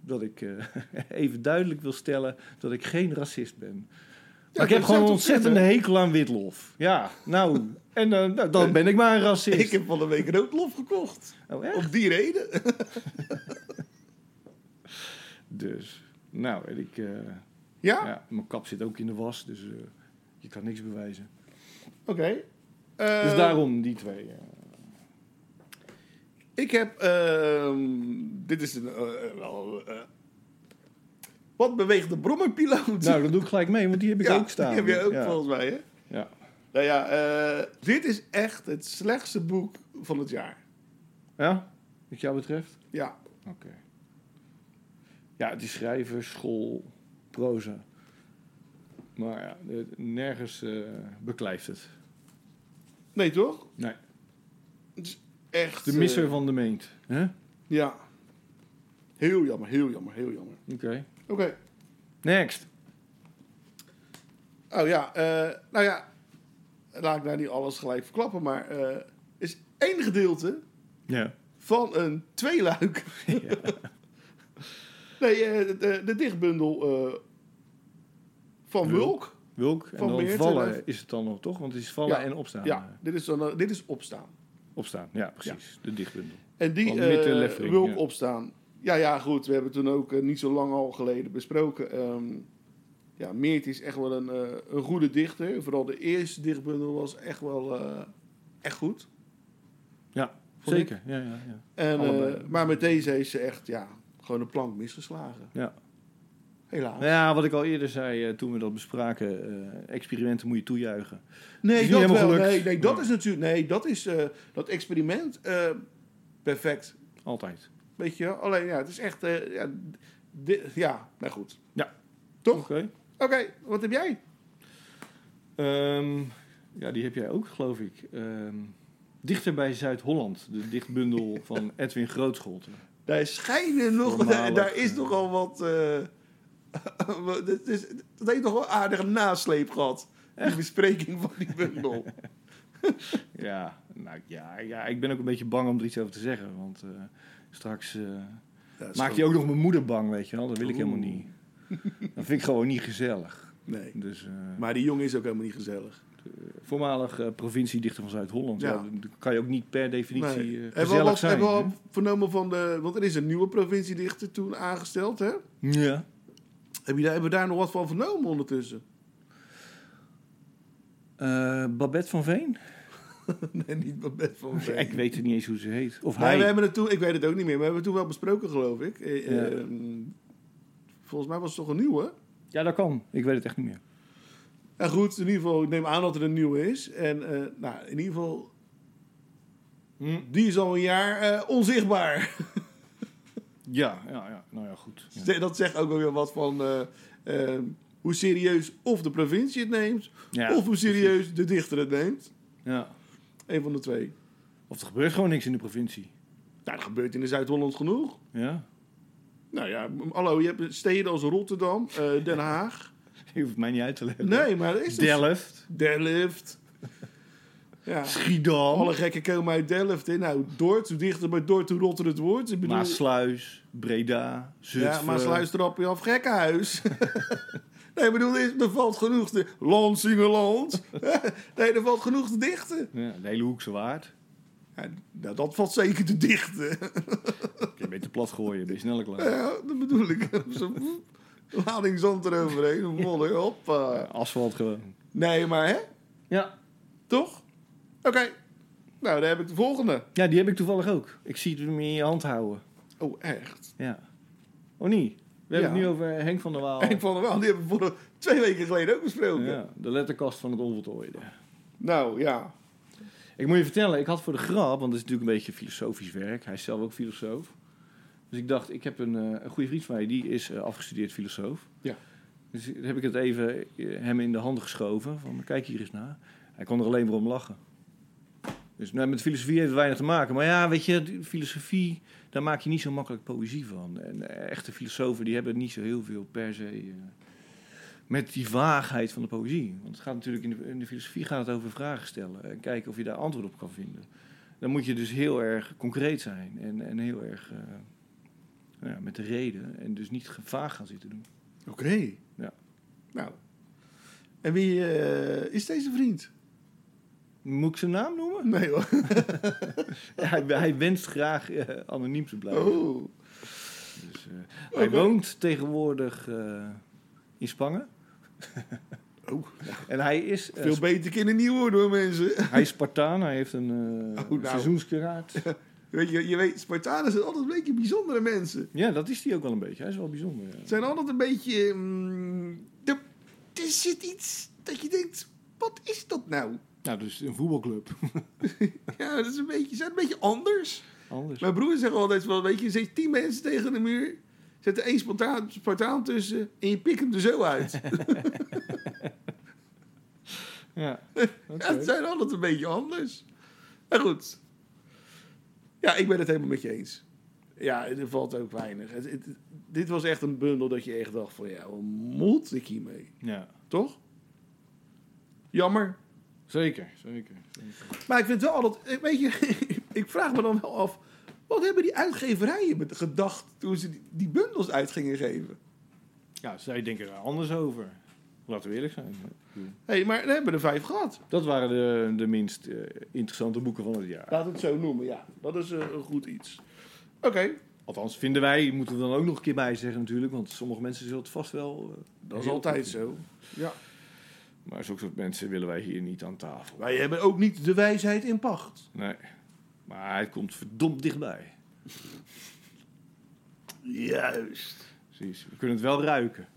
[SPEAKER 6] Dat ik eh, even duidelijk wil stellen dat ik geen racist ben.
[SPEAKER 7] Ja,
[SPEAKER 6] maar ik heb gewoon
[SPEAKER 7] dat zou
[SPEAKER 6] een
[SPEAKER 7] toch
[SPEAKER 6] ontzettende
[SPEAKER 7] kunnen?
[SPEAKER 6] hekel aan witlof. Ja, nou, en eh, nou, dan ben ik maar een racist.
[SPEAKER 7] Ik heb van de week roodlof gekocht.
[SPEAKER 6] Oh, echt?
[SPEAKER 7] Om die reden.
[SPEAKER 6] Dus, nou, en ik, eh,
[SPEAKER 7] Ja?
[SPEAKER 6] ja, mijn kap zit ook in de was, dus eh, je kan niks bewijzen.
[SPEAKER 7] Oké. Eh,
[SPEAKER 6] dus daarom die twee. eh.
[SPEAKER 7] Ik heb. ehm, dit is een. eh, eh, wel, eh, wat beweegt de brommerpiloot?
[SPEAKER 6] nou, dat doe ik gelijk mee, want die heb ik
[SPEAKER 7] Ja,
[SPEAKER 6] ook staan.
[SPEAKER 7] Die heb je ook
[SPEAKER 6] ja.
[SPEAKER 7] volgens mij, hè?
[SPEAKER 6] Ja.
[SPEAKER 7] Nou ja, eh, dit is echt het slechtste boek van het jaar.
[SPEAKER 6] Ja? Wat jou betreft?
[SPEAKER 7] Ja.
[SPEAKER 6] Oké. Ja, het is schrijven, school, proza. Maar ja, eh, nergens eh, beklijft het.
[SPEAKER 7] Nee, toch?
[SPEAKER 6] Nee.
[SPEAKER 7] Echt.
[SPEAKER 6] De
[SPEAKER 7] eh,
[SPEAKER 6] misser van de meent. hè? Oké.
[SPEAKER 7] Ja. Heel jammer, heel jammer, heel jammer. Oké.
[SPEAKER 6] Next.
[SPEAKER 7] Oh ja, eh, nou ja. Laat ik nou niet alles gelijk verklappen, maar eh, er is één gedeelte
[SPEAKER 6] Ja.
[SPEAKER 7] van een tweeluik. nee, eh, de- de, de dichtbundel eh, van
[SPEAKER 6] Wulk.
[SPEAKER 7] Wulk.
[SPEAKER 6] Wilk. En
[SPEAKER 7] Van
[SPEAKER 6] dan
[SPEAKER 7] Beert
[SPEAKER 6] vallen
[SPEAKER 7] en-
[SPEAKER 6] is het dan nog, toch? Want het is vallen
[SPEAKER 7] Ja.
[SPEAKER 6] en opstaan.
[SPEAKER 7] Ja,
[SPEAKER 6] eh,
[SPEAKER 7] dit is, dan, eh, dit is opstaan.
[SPEAKER 6] Opstaan, ja, precies. De dichtbundel.
[SPEAKER 7] En die
[SPEAKER 6] Van Mitte
[SPEAKER 7] eh,
[SPEAKER 6] Leffering,
[SPEAKER 7] Wulk
[SPEAKER 6] ja.
[SPEAKER 7] opstaan. Ja, ja, goed. We hebben toen ook eh, niet zo lang al geleden besproken. ehm, ja, Meert is echt wel een, eh, een goede dichter. Vooral de eerste dichtbundel was echt wel eh, echt goed.
[SPEAKER 6] Ja,
[SPEAKER 7] Vond ik.
[SPEAKER 6] zeker. Ja, ja, ja.
[SPEAKER 7] En,
[SPEAKER 6] Allebei.
[SPEAKER 7] eh, maar met deze heeft ze echt ja, gewoon een plank misgeslagen.
[SPEAKER 6] Ja.
[SPEAKER 7] Helaas.
[SPEAKER 6] Nou ja, wat ik al eerder zei eh, toen we dat bespraken. eh, experimenten moet je toejuichen.
[SPEAKER 7] Nee,
[SPEAKER 6] Is niet
[SPEAKER 7] dat,
[SPEAKER 6] helemaal
[SPEAKER 7] wel,
[SPEAKER 6] gelukt.
[SPEAKER 7] nee, nee, dat
[SPEAKER 6] Ja.
[SPEAKER 7] is natuurlijk. Nee, dat is eh, dat experiment eh, perfect.
[SPEAKER 6] Altijd.
[SPEAKER 7] Weet je, wel? alleen ja, het is echt. eh, ja, di- ja, maar goed.
[SPEAKER 6] Ja.
[SPEAKER 7] Toch?
[SPEAKER 6] Oké.
[SPEAKER 7] Oké, wat heb jij?
[SPEAKER 6] Ehm, ja, die heb jij ook, geloof ik. Ehm, Dichter bij Zuid-Holland, de dichtbundel van Edwin Grootscholte.
[SPEAKER 7] Daar schijnen nog,
[SPEAKER 6] Voormalig,
[SPEAKER 7] daar is
[SPEAKER 6] eh,
[SPEAKER 7] nogal wat. eh dat, is, dat heeft nog wel aardige nasleep gehad. Die bespreking van die bundel.
[SPEAKER 6] Ja, nou, ja, ja, ik ben ook een beetje bang om er iets over te zeggen. Want eh, straks eh, maakt hij ook nog mijn moeder bang, weet je wel. Dat wil ik helemaal niet. Dat vind ik gewoon niet gezellig.
[SPEAKER 7] Nee.
[SPEAKER 6] Dus eh,
[SPEAKER 7] Maar die jongen is ook helemaal niet gezellig.
[SPEAKER 6] voormalig eh, provinciedichter van Zuid-Holland. Ja.
[SPEAKER 7] Ja.
[SPEAKER 6] dan kan je ook niet per definitie eh,
[SPEAKER 7] Hebben we al
[SPEAKER 6] gezellig
[SPEAKER 7] wat-
[SPEAKER 6] zijn.
[SPEAKER 7] Hebben we al
[SPEAKER 6] hè?
[SPEAKER 7] vernomen van de... Want er is een nieuwe provinciedichter toen aangesteld, hè?
[SPEAKER 6] Ja.
[SPEAKER 7] Heb je daar, hebben we daar nog wat van vernomen ondertussen?
[SPEAKER 6] Eh, Babette van Veen?
[SPEAKER 7] nee, niet Babette van Veen.
[SPEAKER 6] Ik weet het niet eens hoe ze heet. Of
[SPEAKER 7] Nee,
[SPEAKER 6] hij.
[SPEAKER 7] we hebben het toen, ik weet het ook niet meer, maar we hebben het toen wel besproken, geloof ik. Eh,
[SPEAKER 6] Ja.
[SPEAKER 7] ehm, volgens mij was het toch een nieuwe?
[SPEAKER 6] Ja, dat kan. Ik weet het echt niet meer.
[SPEAKER 7] Nou goed, in ieder geval, ik neem aan dat er een nieuwe is. En eh, nou, in ieder geval,
[SPEAKER 6] Hm?
[SPEAKER 7] die is al een jaar eh, onzichtbaar.
[SPEAKER 6] Ja, ja, ja. Nou ja, goed. Ja.
[SPEAKER 7] Dat zegt ook wel weer wat van eh, ehm, hoe serieus of de provincie het neemt,
[SPEAKER 6] Ja,
[SPEAKER 7] of hoe serieus de dichter het neemt.
[SPEAKER 6] Ja.
[SPEAKER 7] Eén van de twee.
[SPEAKER 6] Of er gebeurt gewoon niks in de provincie.
[SPEAKER 7] Nou, dat gebeurt in de Zuid-Holland genoeg.
[SPEAKER 6] Ja.
[SPEAKER 7] Nou ja, m- hallo, je hebt steden als Rotterdam, eh, Den Haag.
[SPEAKER 6] Je hoeft mij niet uit te leggen.
[SPEAKER 7] Nee, maar dat is dus-
[SPEAKER 6] Delft.
[SPEAKER 7] Delft. Ja.
[SPEAKER 6] Schiedam.
[SPEAKER 7] Alle gekken komen uit Delft. Hè? Nou, Dordt, hoe dichter bij Dordt, hoe rotter het wordt. Ik bedoel,
[SPEAKER 6] Maasluis. Breda. Zutphen.
[SPEAKER 7] ja, Maasluis trap je af, gekkenhuis. nee, ik bedoel, er er valt genoeg te... Lansingerland. nee, er valt genoeg te dichten.
[SPEAKER 6] Ja, de hele Hoekse Waard.
[SPEAKER 7] Ja, nou, dat valt zeker te dichten.
[SPEAKER 6] Je bent te plat gooien. Ben je sneller klaar.
[SPEAKER 7] ja, dat bedoel ik. Zo'n Lading zand eroverheen. Een volle, hoppa.
[SPEAKER 6] Asfalt gewoon.
[SPEAKER 7] Nee, maar hè?
[SPEAKER 6] Ja.
[SPEAKER 7] Toch? Oké. Nou, dan heb ik de volgende.
[SPEAKER 6] Ja, die heb ik toevallig ook. Ik zie het hem in je hand houden.
[SPEAKER 7] Oh, echt?
[SPEAKER 6] Ja. Oh niet? We hebben het nu
[SPEAKER 7] Ja.
[SPEAKER 6] over Henk van der Waal.
[SPEAKER 7] Henk van der Waal, die hebben we vorige- twee weken geleden ook besproken.
[SPEAKER 6] Ja, de letterkast van het onvoltooide.
[SPEAKER 7] Nou ja.
[SPEAKER 6] Ik moet je vertellen, ik had voor de grap, want het is natuurlijk een beetje filosofisch werk. Hij is zelf ook filosoof. Dus ik dacht, ik heb een, eh, een goede vriend van mij, die is eh, afgestudeerd filosoof.
[SPEAKER 7] Ja.
[SPEAKER 6] Dus heb ik het even eh, hem in de handen geschoven, van kijk hier eens naar. Hij kon er alleen maar om lachen. Dus nou, met filosofie heeft het weinig te maken. Maar ja, weet je, die filosofie, daar maak je niet zo makkelijk poëzie van. En eh, echte filosofen, die hebben niet zo heel veel per se... eh, met die vaagheid van de poëzie. Want het gaat natuurlijk in de, in de filosofie gaat het over vragen stellen en kijken of je daar antwoord op kan vinden. Dan moet je dus heel erg concreet zijn en, en heel erg eh, nou ja, met de reden en dus niet ge- vaag gaan zitten doen.
[SPEAKER 7] Oké.
[SPEAKER 6] Ja.
[SPEAKER 7] Nou. En wie eh, is deze vriend?
[SPEAKER 6] Moet ik zijn naam noemen?
[SPEAKER 7] Nee hoor.
[SPEAKER 6] hij, hij wenst graag eh, anoniem te blijven.
[SPEAKER 7] Oh.
[SPEAKER 6] Dus, eh, Hij
[SPEAKER 7] Oké.
[SPEAKER 6] woont tegenwoordig eh, in Spangen.
[SPEAKER 7] Oh.
[SPEAKER 6] En hij is, eh,
[SPEAKER 7] Veel beter kinderen niet worden hoor mensen.
[SPEAKER 6] hij is Spartaan, hij heeft een eh
[SPEAKER 7] Oh, nou.
[SPEAKER 6] seizoenskeraad.
[SPEAKER 7] Weet je, je weet, Spartanen zijn altijd een beetje bijzondere mensen.
[SPEAKER 6] ja, dat is hij ook wel een beetje. Hij is wel bijzonder. ja.
[SPEAKER 7] Het zijn altijd een beetje... mm, er, er zit iets dat je denkt, wat is dat nou?
[SPEAKER 6] Nou, dus een voetbalclub.
[SPEAKER 7] Ja, dat is een beetje, ze zijn een beetje anders.
[SPEAKER 6] Anders.
[SPEAKER 7] Mijn broer zegt altijd wel, weet je, je zet tien mensen tegen de muur, zet er één spontaan, spontaan tussen en je pikt hem er zo uit.
[SPEAKER 6] Ja.
[SPEAKER 7] Ja, het zijn altijd een beetje anders. Maar goed. Ja, ik ben het helemaal met je eens. Ja, er valt ook weinig. Het- het- dit was echt een bundel dat je echt dacht van, ja, wat moet ik hiermee?
[SPEAKER 6] ja.
[SPEAKER 7] Toch? Jammer.
[SPEAKER 6] Zeker, zeker.
[SPEAKER 7] Maar ik vind wel altijd, eh, weet je, ik vraag me dan wel af, wat hebben die uitgeverijen met gedacht toen ze die, die bundels uit gingen geven?
[SPEAKER 6] Ja, zij denken er anders over. Laten we eerlijk zijn.
[SPEAKER 7] Hé, hey, maar we hebben er vijf gehad.
[SPEAKER 6] Dat waren de, de minst eh, interessante boeken van het jaar.
[SPEAKER 7] Laat het zo noemen, ja. Dat is eh, een goed iets. Oké,
[SPEAKER 6] Althans, vinden wij, moeten we dan ook nog een keer bij zeggen natuurlijk. Want sommige mensen zullen het vast wel... eh,
[SPEAKER 7] dat is
[SPEAKER 6] heel
[SPEAKER 7] altijd
[SPEAKER 6] goed vinden.
[SPEAKER 7] zo. Ja.
[SPEAKER 6] Maar zulke soort mensen willen wij hier niet aan tafel.
[SPEAKER 7] Wij hebben ook niet de wijsheid in pacht.
[SPEAKER 6] Nee. Maar hij komt verdomd dichtbij.
[SPEAKER 7] Juist.
[SPEAKER 6] Precies. We kunnen het wel ruiken.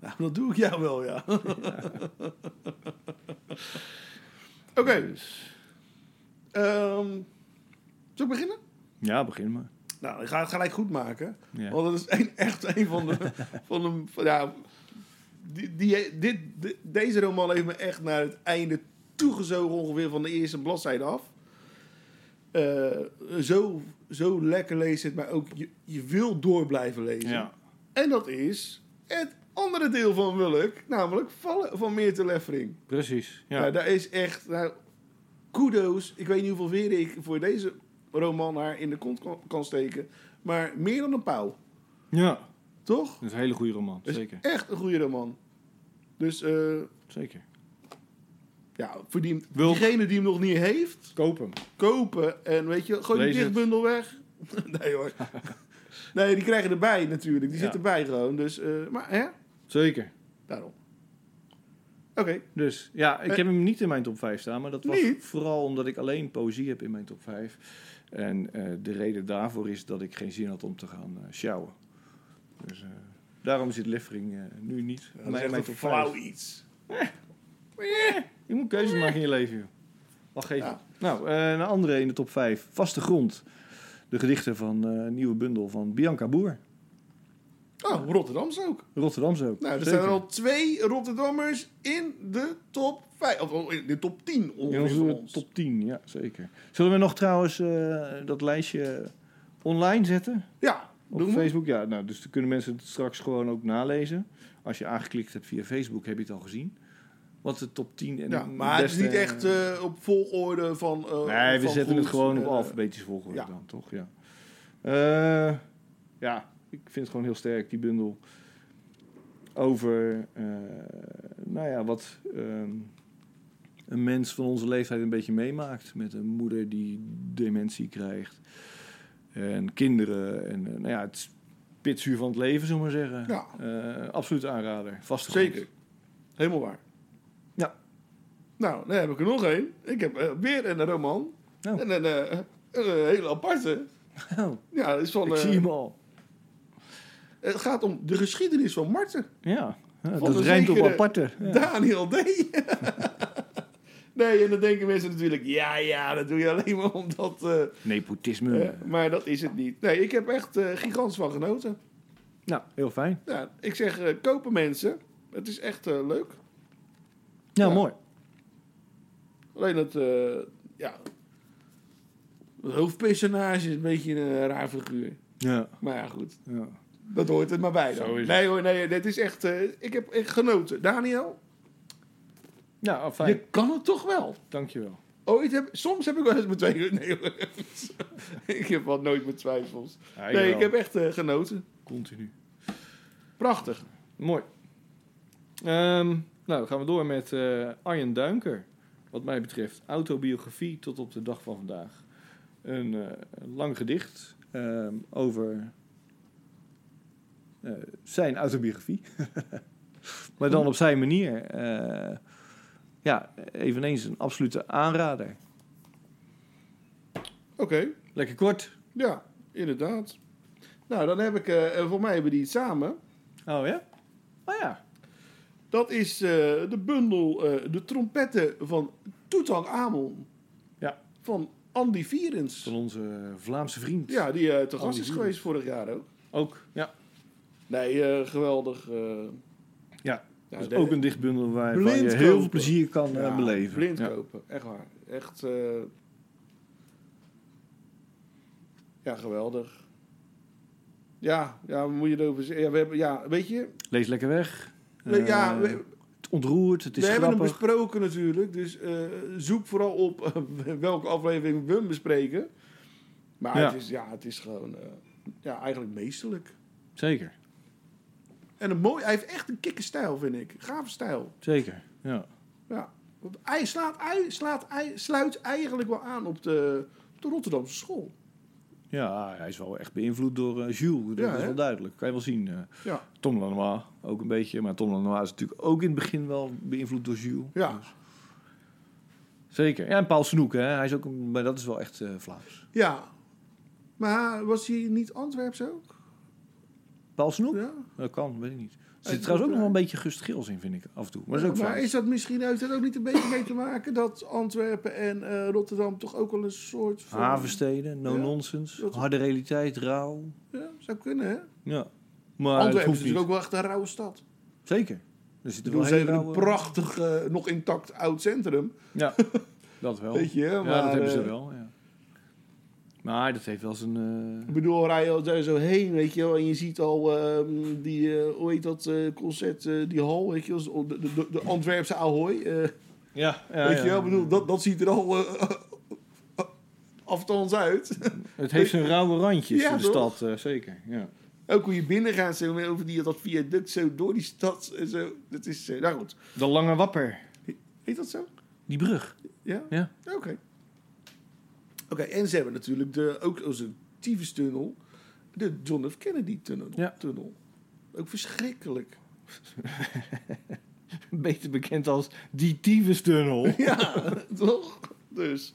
[SPEAKER 7] Nou, dat doe ik jou wel, ja. Oké,
[SPEAKER 6] Dus,
[SPEAKER 7] ehm, zullen we beginnen?
[SPEAKER 6] ja, begin maar.
[SPEAKER 7] Nou, ik ga het gelijk goed maken.
[SPEAKER 6] Ja.
[SPEAKER 7] Want dat is een, echt een van de... van de van, ja, die, die, dit, de- deze roman heeft me echt naar het einde toegezogen ongeveer van de eerste bladzijde af. Eh, zo, zo lekker leest het, maar ook je, je wil door blijven lezen.
[SPEAKER 6] Ja.
[SPEAKER 7] En dat is het andere deel van Wulk, namelijk Vallen van Meerte Leffering.
[SPEAKER 6] Precies.
[SPEAKER 7] Ja.
[SPEAKER 6] Ja.
[SPEAKER 7] daar is echt... Nou, kudos. Ik weet niet hoeveel weer ik voor deze roman haar in de kont kan, kan steken. Maar meer dan een pauw.
[SPEAKER 6] ja.
[SPEAKER 7] Toch?
[SPEAKER 6] Dat is een hele goede roman,
[SPEAKER 7] Dat is
[SPEAKER 6] zeker.
[SPEAKER 7] echt een goede roman. Dus eh,
[SPEAKER 6] Zeker.
[SPEAKER 7] ja, voor die,
[SPEAKER 6] Wil-
[SPEAKER 7] diegene die hem nog niet heeft,
[SPEAKER 6] Koop hem.
[SPEAKER 7] kopen. En weet je, gooi
[SPEAKER 6] Lees
[SPEAKER 7] die
[SPEAKER 6] het.
[SPEAKER 7] dichtbundel weg. nee hoor. nee, die krijgen erbij natuurlijk. Die
[SPEAKER 6] Ja.
[SPEAKER 7] zitten erbij gewoon. Dus, eh, maar hè,
[SPEAKER 6] Zeker.
[SPEAKER 7] daarom. Oké.
[SPEAKER 6] Dus ja, ik
[SPEAKER 7] Eh.
[SPEAKER 6] heb hem niet in mijn top 5 staan, maar dat was
[SPEAKER 7] Niet?
[SPEAKER 6] vooral omdat ik alleen poëzie heb in mijn top 5. En eh, de reden daarvoor is dat ik geen zin had om te gaan eh sjouwen. Dus eh, daarom zit Leffering eh, nu niet in
[SPEAKER 7] dat is
[SPEAKER 6] mijn,
[SPEAKER 7] echt
[SPEAKER 6] mijn
[SPEAKER 7] een
[SPEAKER 6] top 5.
[SPEAKER 7] flauw iets.
[SPEAKER 6] Je moet keuzes maken in je leven, joh. Wacht even.
[SPEAKER 7] Ja.
[SPEAKER 6] Nou, eh, een andere in de top 5. Vaste grond. De gedichten van eh, een nieuwe bundel van Bianca Boer.
[SPEAKER 7] Oh, Rotterdams ook.
[SPEAKER 6] Rotterdamse ook.
[SPEAKER 7] Nou, er
[SPEAKER 6] Zeker.
[SPEAKER 7] zijn er al twee Rotterdammers in de top 5. Of oh, in de top 10
[SPEAKER 6] In
[SPEAKER 7] ongeveer van
[SPEAKER 6] onze
[SPEAKER 7] ons.
[SPEAKER 6] top 10, ja, zeker. Zullen we nog trouwens eh, dat lijstje online zetten?
[SPEAKER 7] Ja,
[SPEAKER 6] Op
[SPEAKER 7] doen we.
[SPEAKER 6] Facebook? Ja, nou, dus dan kunnen mensen het straks gewoon ook nalezen. Als je aangeklikt hebt via Facebook, heb je het al gezien. Wat de top 10 en
[SPEAKER 7] Ja,
[SPEAKER 6] de
[SPEAKER 7] maar het is
[SPEAKER 6] beste-
[SPEAKER 7] niet echt eh, op volgorde van... eh,
[SPEAKER 6] nee, we
[SPEAKER 7] van
[SPEAKER 6] zetten
[SPEAKER 7] goed,
[SPEAKER 6] het gewoon op
[SPEAKER 7] eh,
[SPEAKER 6] alfabetische volgorde
[SPEAKER 7] ja.
[SPEAKER 6] dan, toch? Ja. Eh, ja, ik vind het gewoon heel sterk, die bundel. Over, eh, nou ja, wat ehm, een mens van onze leeftijd een beetje meemaakt. Met een moeder die dementie krijgt. En kinderen. En eh, nou ja, het pitsuur van het leven, zullen we maar zeggen.
[SPEAKER 7] Ja.
[SPEAKER 6] Eh, absoluut aanrader. Vaste grond.
[SPEAKER 7] Zeker. Helemaal waar.
[SPEAKER 6] Ja.
[SPEAKER 7] Nou, dan heb ik er nog één. Ik heb eh, weer een roman.
[SPEAKER 6] Oh.
[SPEAKER 7] En een, eh, een hele aparte.
[SPEAKER 6] Oh,
[SPEAKER 7] Ja, het is van,
[SPEAKER 6] ik
[SPEAKER 7] eh,
[SPEAKER 6] zie hem al.
[SPEAKER 7] het gaat om de geschiedenis van Marten.
[SPEAKER 6] Ja, ja,
[SPEAKER 7] Van
[SPEAKER 6] dat
[SPEAKER 7] een
[SPEAKER 6] rijmt op
[SPEAKER 7] zekere-
[SPEAKER 6] aparte. Ja.
[SPEAKER 7] Daniel D. nee, en dan denken mensen natuurlijk... Ja, ja, dat doe je alleen maar omdat... eh,
[SPEAKER 6] Nepotisme.
[SPEAKER 7] eh, maar dat is het niet. Nee, ik heb echt eh gigantisch van genoten.
[SPEAKER 6] Nou, heel fijn.
[SPEAKER 7] Ja, ik zeg, eh, kopen mensen. Het is echt eh, leuk.
[SPEAKER 6] Ja,
[SPEAKER 7] Ja.
[SPEAKER 6] mooi.
[SPEAKER 7] Alleen dat, eh, ja... Het hoofdpersonage is een beetje een eh, raar figuur.
[SPEAKER 6] Ja.
[SPEAKER 7] Maar ja, goed.
[SPEAKER 6] ja.
[SPEAKER 7] Dat hoort er maar bij dan.
[SPEAKER 6] Zo is het.
[SPEAKER 7] nee hoor, nee. Dit is echt... eh, ik heb echt genoten. Daniel,
[SPEAKER 6] Ja, oh, fijn.
[SPEAKER 7] je kan het toch wel?
[SPEAKER 6] Dankjewel.
[SPEAKER 7] Ooit heb, soms heb ik wel eens mijn twee Nee hoor. ik heb wel nooit mijn twijfels.
[SPEAKER 6] Ja,
[SPEAKER 7] Nee,
[SPEAKER 6] jawel.
[SPEAKER 7] ik heb echt eh, genoten.
[SPEAKER 6] Continu.
[SPEAKER 7] Prachtig.
[SPEAKER 6] Mooi. Ehm, nou, dan gaan we door met eh, Arjen Duinker. Wat mij betreft autobiografie tot op de dag van vandaag. Een eh, lang gedicht ehm, over eh, zijn autobiografie. maar dan op zijn manier. Eh, ja, eveneens een absolute aanrader.
[SPEAKER 7] Oké.
[SPEAKER 6] Lekker kort.
[SPEAKER 7] Ja, inderdaad. Nou, dan heb ik... eh, eh, voor mij hebben die iets samen.
[SPEAKER 6] Oh ja? Oh ja.
[SPEAKER 7] Dat is eh, de bundel eh, De Trompetten van Toetang Amon.
[SPEAKER 6] Ja.
[SPEAKER 7] Van Andy Vierens.
[SPEAKER 6] Van onze Vlaamse vriend.
[SPEAKER 7] Ja, die eh,
[SPEAKER 6] Andy
[SPEAKER 7] te gast is
[SPEAKER 6] Vierens.
[SPEAKER 7] geweest vorig jaar ook.
[SPEAKER 6] Ook. Ja.
[SPEAKER 7] Nee, eh, geweldig. eh,
[SPEAKER 6] Ja.
[SPEAKER 7] ja,
[SPEAKER 6] Dus
[SPEAKER 7] de-
[SPEAKER 6] ook een dichtbundel waar,
[SPEAKER 7] Blind
[SPEAKER 6] waar je heel
[SPEAKER 7] kopen.
[SPEAKER 6] veel plezier kan eh,
[SPEAKER 7] ja,
[SPEAKER 6] beleven.
[SPEAKER 7] Blind
[SPEAKER 6] ja.
[SPEAKER 7] kopen, echt waar. Echt. eh, ja, geweldig. Ja, ja, wat moet je erover zeggen? Ja, we hebben, ja, weet je.
[SPEAKER 6] Lees lekker weg.
[SPEAKER 7] we-
[SPEAKER 6] Eh,
[SPEAKER 7] ja, we,
[SPEAKER 6] het ontroert, het
[SPEAKER 7] we
[SPEAKER 6] is
[SPEAKER 7] hebben hem
[SPEAKER 6] grappig.
[SPEAKER 7] besproken natuurlijk. Dus eh, zoek vooral op eh, welke aflevering we hem bespreken. Maar
[SPEAKER 6] Ja.
[SPEAKER 7] Het, is, ja, het is gewoon eh, ja, eigenlijk meesterlijk.
[SPEAKER 6] Zeker,
[SPEAKER 7] En een mooi, hij heeft echt een kikke stijl, vind ik. Gave stijl.
[SPEAKER 6] zeker. Ja.
[SPEAKER 7] Ja. Want Hij slaat, hij slaat, hij sluit eigenlijk wel aan op de, op de Rotterdamse school.
[SPEAKER 6] ja, hij is wel echt beïnvloed door eh, Jules. Dat
[SPEAKER 7] Ja,
[SPEAKER 6] is
[SPEAKER 7] hè?
[SPEAKER 6] wel duidelijk. Kan je wel zien. eh.
[SPEAKER 7] Ja.
[SPEAKER 6] Tom Lanois ook een beetje. Maar Tom Lanois is natuurlijk ook in het begin wel beïnvloed door Jules.
[SPEAKER 7] Ja,
[SPEAKER 6] Zeker. Ja, en Paul Snoek. Hè. Hij is ook, een- maar dat is wel echt eh, Vlaams.
[SPEAKER 7] ja. Maar was hij niet Antwerps ook?
[SPEAKER 6] Paul Snoek?
[SPEAKER 7] Ja.
[SPEAKER 6] Dat kan, weet ik niet. Er
[SPEAKER 7] Hij
[SPEAKER 6] zit
[SPEAKER 7] is
[SPEAKER 6] trouwens ook nog
[SPEAKER 7] ook-
[SPEAKER 6] wel een beetje Gust Gils in, vind ik, af en toe. Maar dat is ook
[SPEAKER 7] maar
[SPEAKER 6] Vlaams.
[SPEAKER 7] is dat misschien heeft dat ook niet een beetje mee te maken dat Antwerpen en eh, Rotterdam toch ook wel een soort van.
[SPEAKER 6] Havensteden, no
[SPEAKER 7] Ja.
[SPEAKER 6] nonsense,
[SPEAKER 7] Dat-
[SPEAKER 6] harde realiteit, rauw.
[SPEAKER 7] Ja, zou kunnen, hè?
[SPEAKER 6] Ja. Maar het
[SPEAKER 7] Antwerpen is
[SPEAKER 6] hoeft niet.
[SPEAKER 7] natuurlijk ook wel echt een rauwe stad.
[SPEAKER 6] Zeker. Er zit
[SPEAKER 7] Ik bedoel, ze hebben een
[SPEAKER 6] rauwe-
[SPEAKER 7] prachtig, eh, nog intact oud centrum.
[SPEAKER 6] Ja, dat wel.
[SPEAKER 7] Weet je,
[SPEAKER 6] Oh. ja,
[SPEAKER 7] maar,
[SPEAKER 6] dat hebben ze
[SPEAKER 7] eh,
[SPEAKER 6] wel, ja. Maar dat heeft wel zijn...
[SPEAKER 7] Ik
[SPEAKER 6] eh,
[SPEAKER 7] bedoel, rij je daar zo heen, weet je wel. En je ziet al ehm, die, eh, hoe heet dat eh, concert, eh, die hal, weet je wel. De, de, de Antwerpse Ahoy. eh,
[SPEAKER 6] Ja, ja,
[SPEAKER 7] weet
[SPEAKER 6] ja.
[SPEAKER 7] je wel, ik bedoel, dat, dat ziet er al eh, afstands uit.
[SPEAKER 6] Het heeft zijn rauwe randjes
[SPEAKER 7] Ja,
[SPEAKER 6] in de
[SPEAKER 7] toch?
[SPEAKER 6] stad, eh, zeker. Ja.
[SPEAKER 7] Ook hoe je binnen gaat, zo, over die, dat viaduct zo door die stad en zo. Dat is, eh, nou goed.
[SPEAKER 6] De Lange Wapper.
[SPEAKER 7] Heet dat zo?
[SPEAKER 6] Die brug.
[SPEAKER 7] Ja?
[SPEAKER 6] Ja.
[SPEAKER 7] Oké. Oké, en ze hebben natuurlijk de, ook als een tyfustunnel de John F. Kennedy tunnel.
[SPEAKER 6] Ja.
[SPEAKER 7] tunnel. Ook verschrikkelijk.
[SPEAKER 6] Beter bekend als die Tyfustunnel.
[SPEAKER 7] Ja, toch? Dus,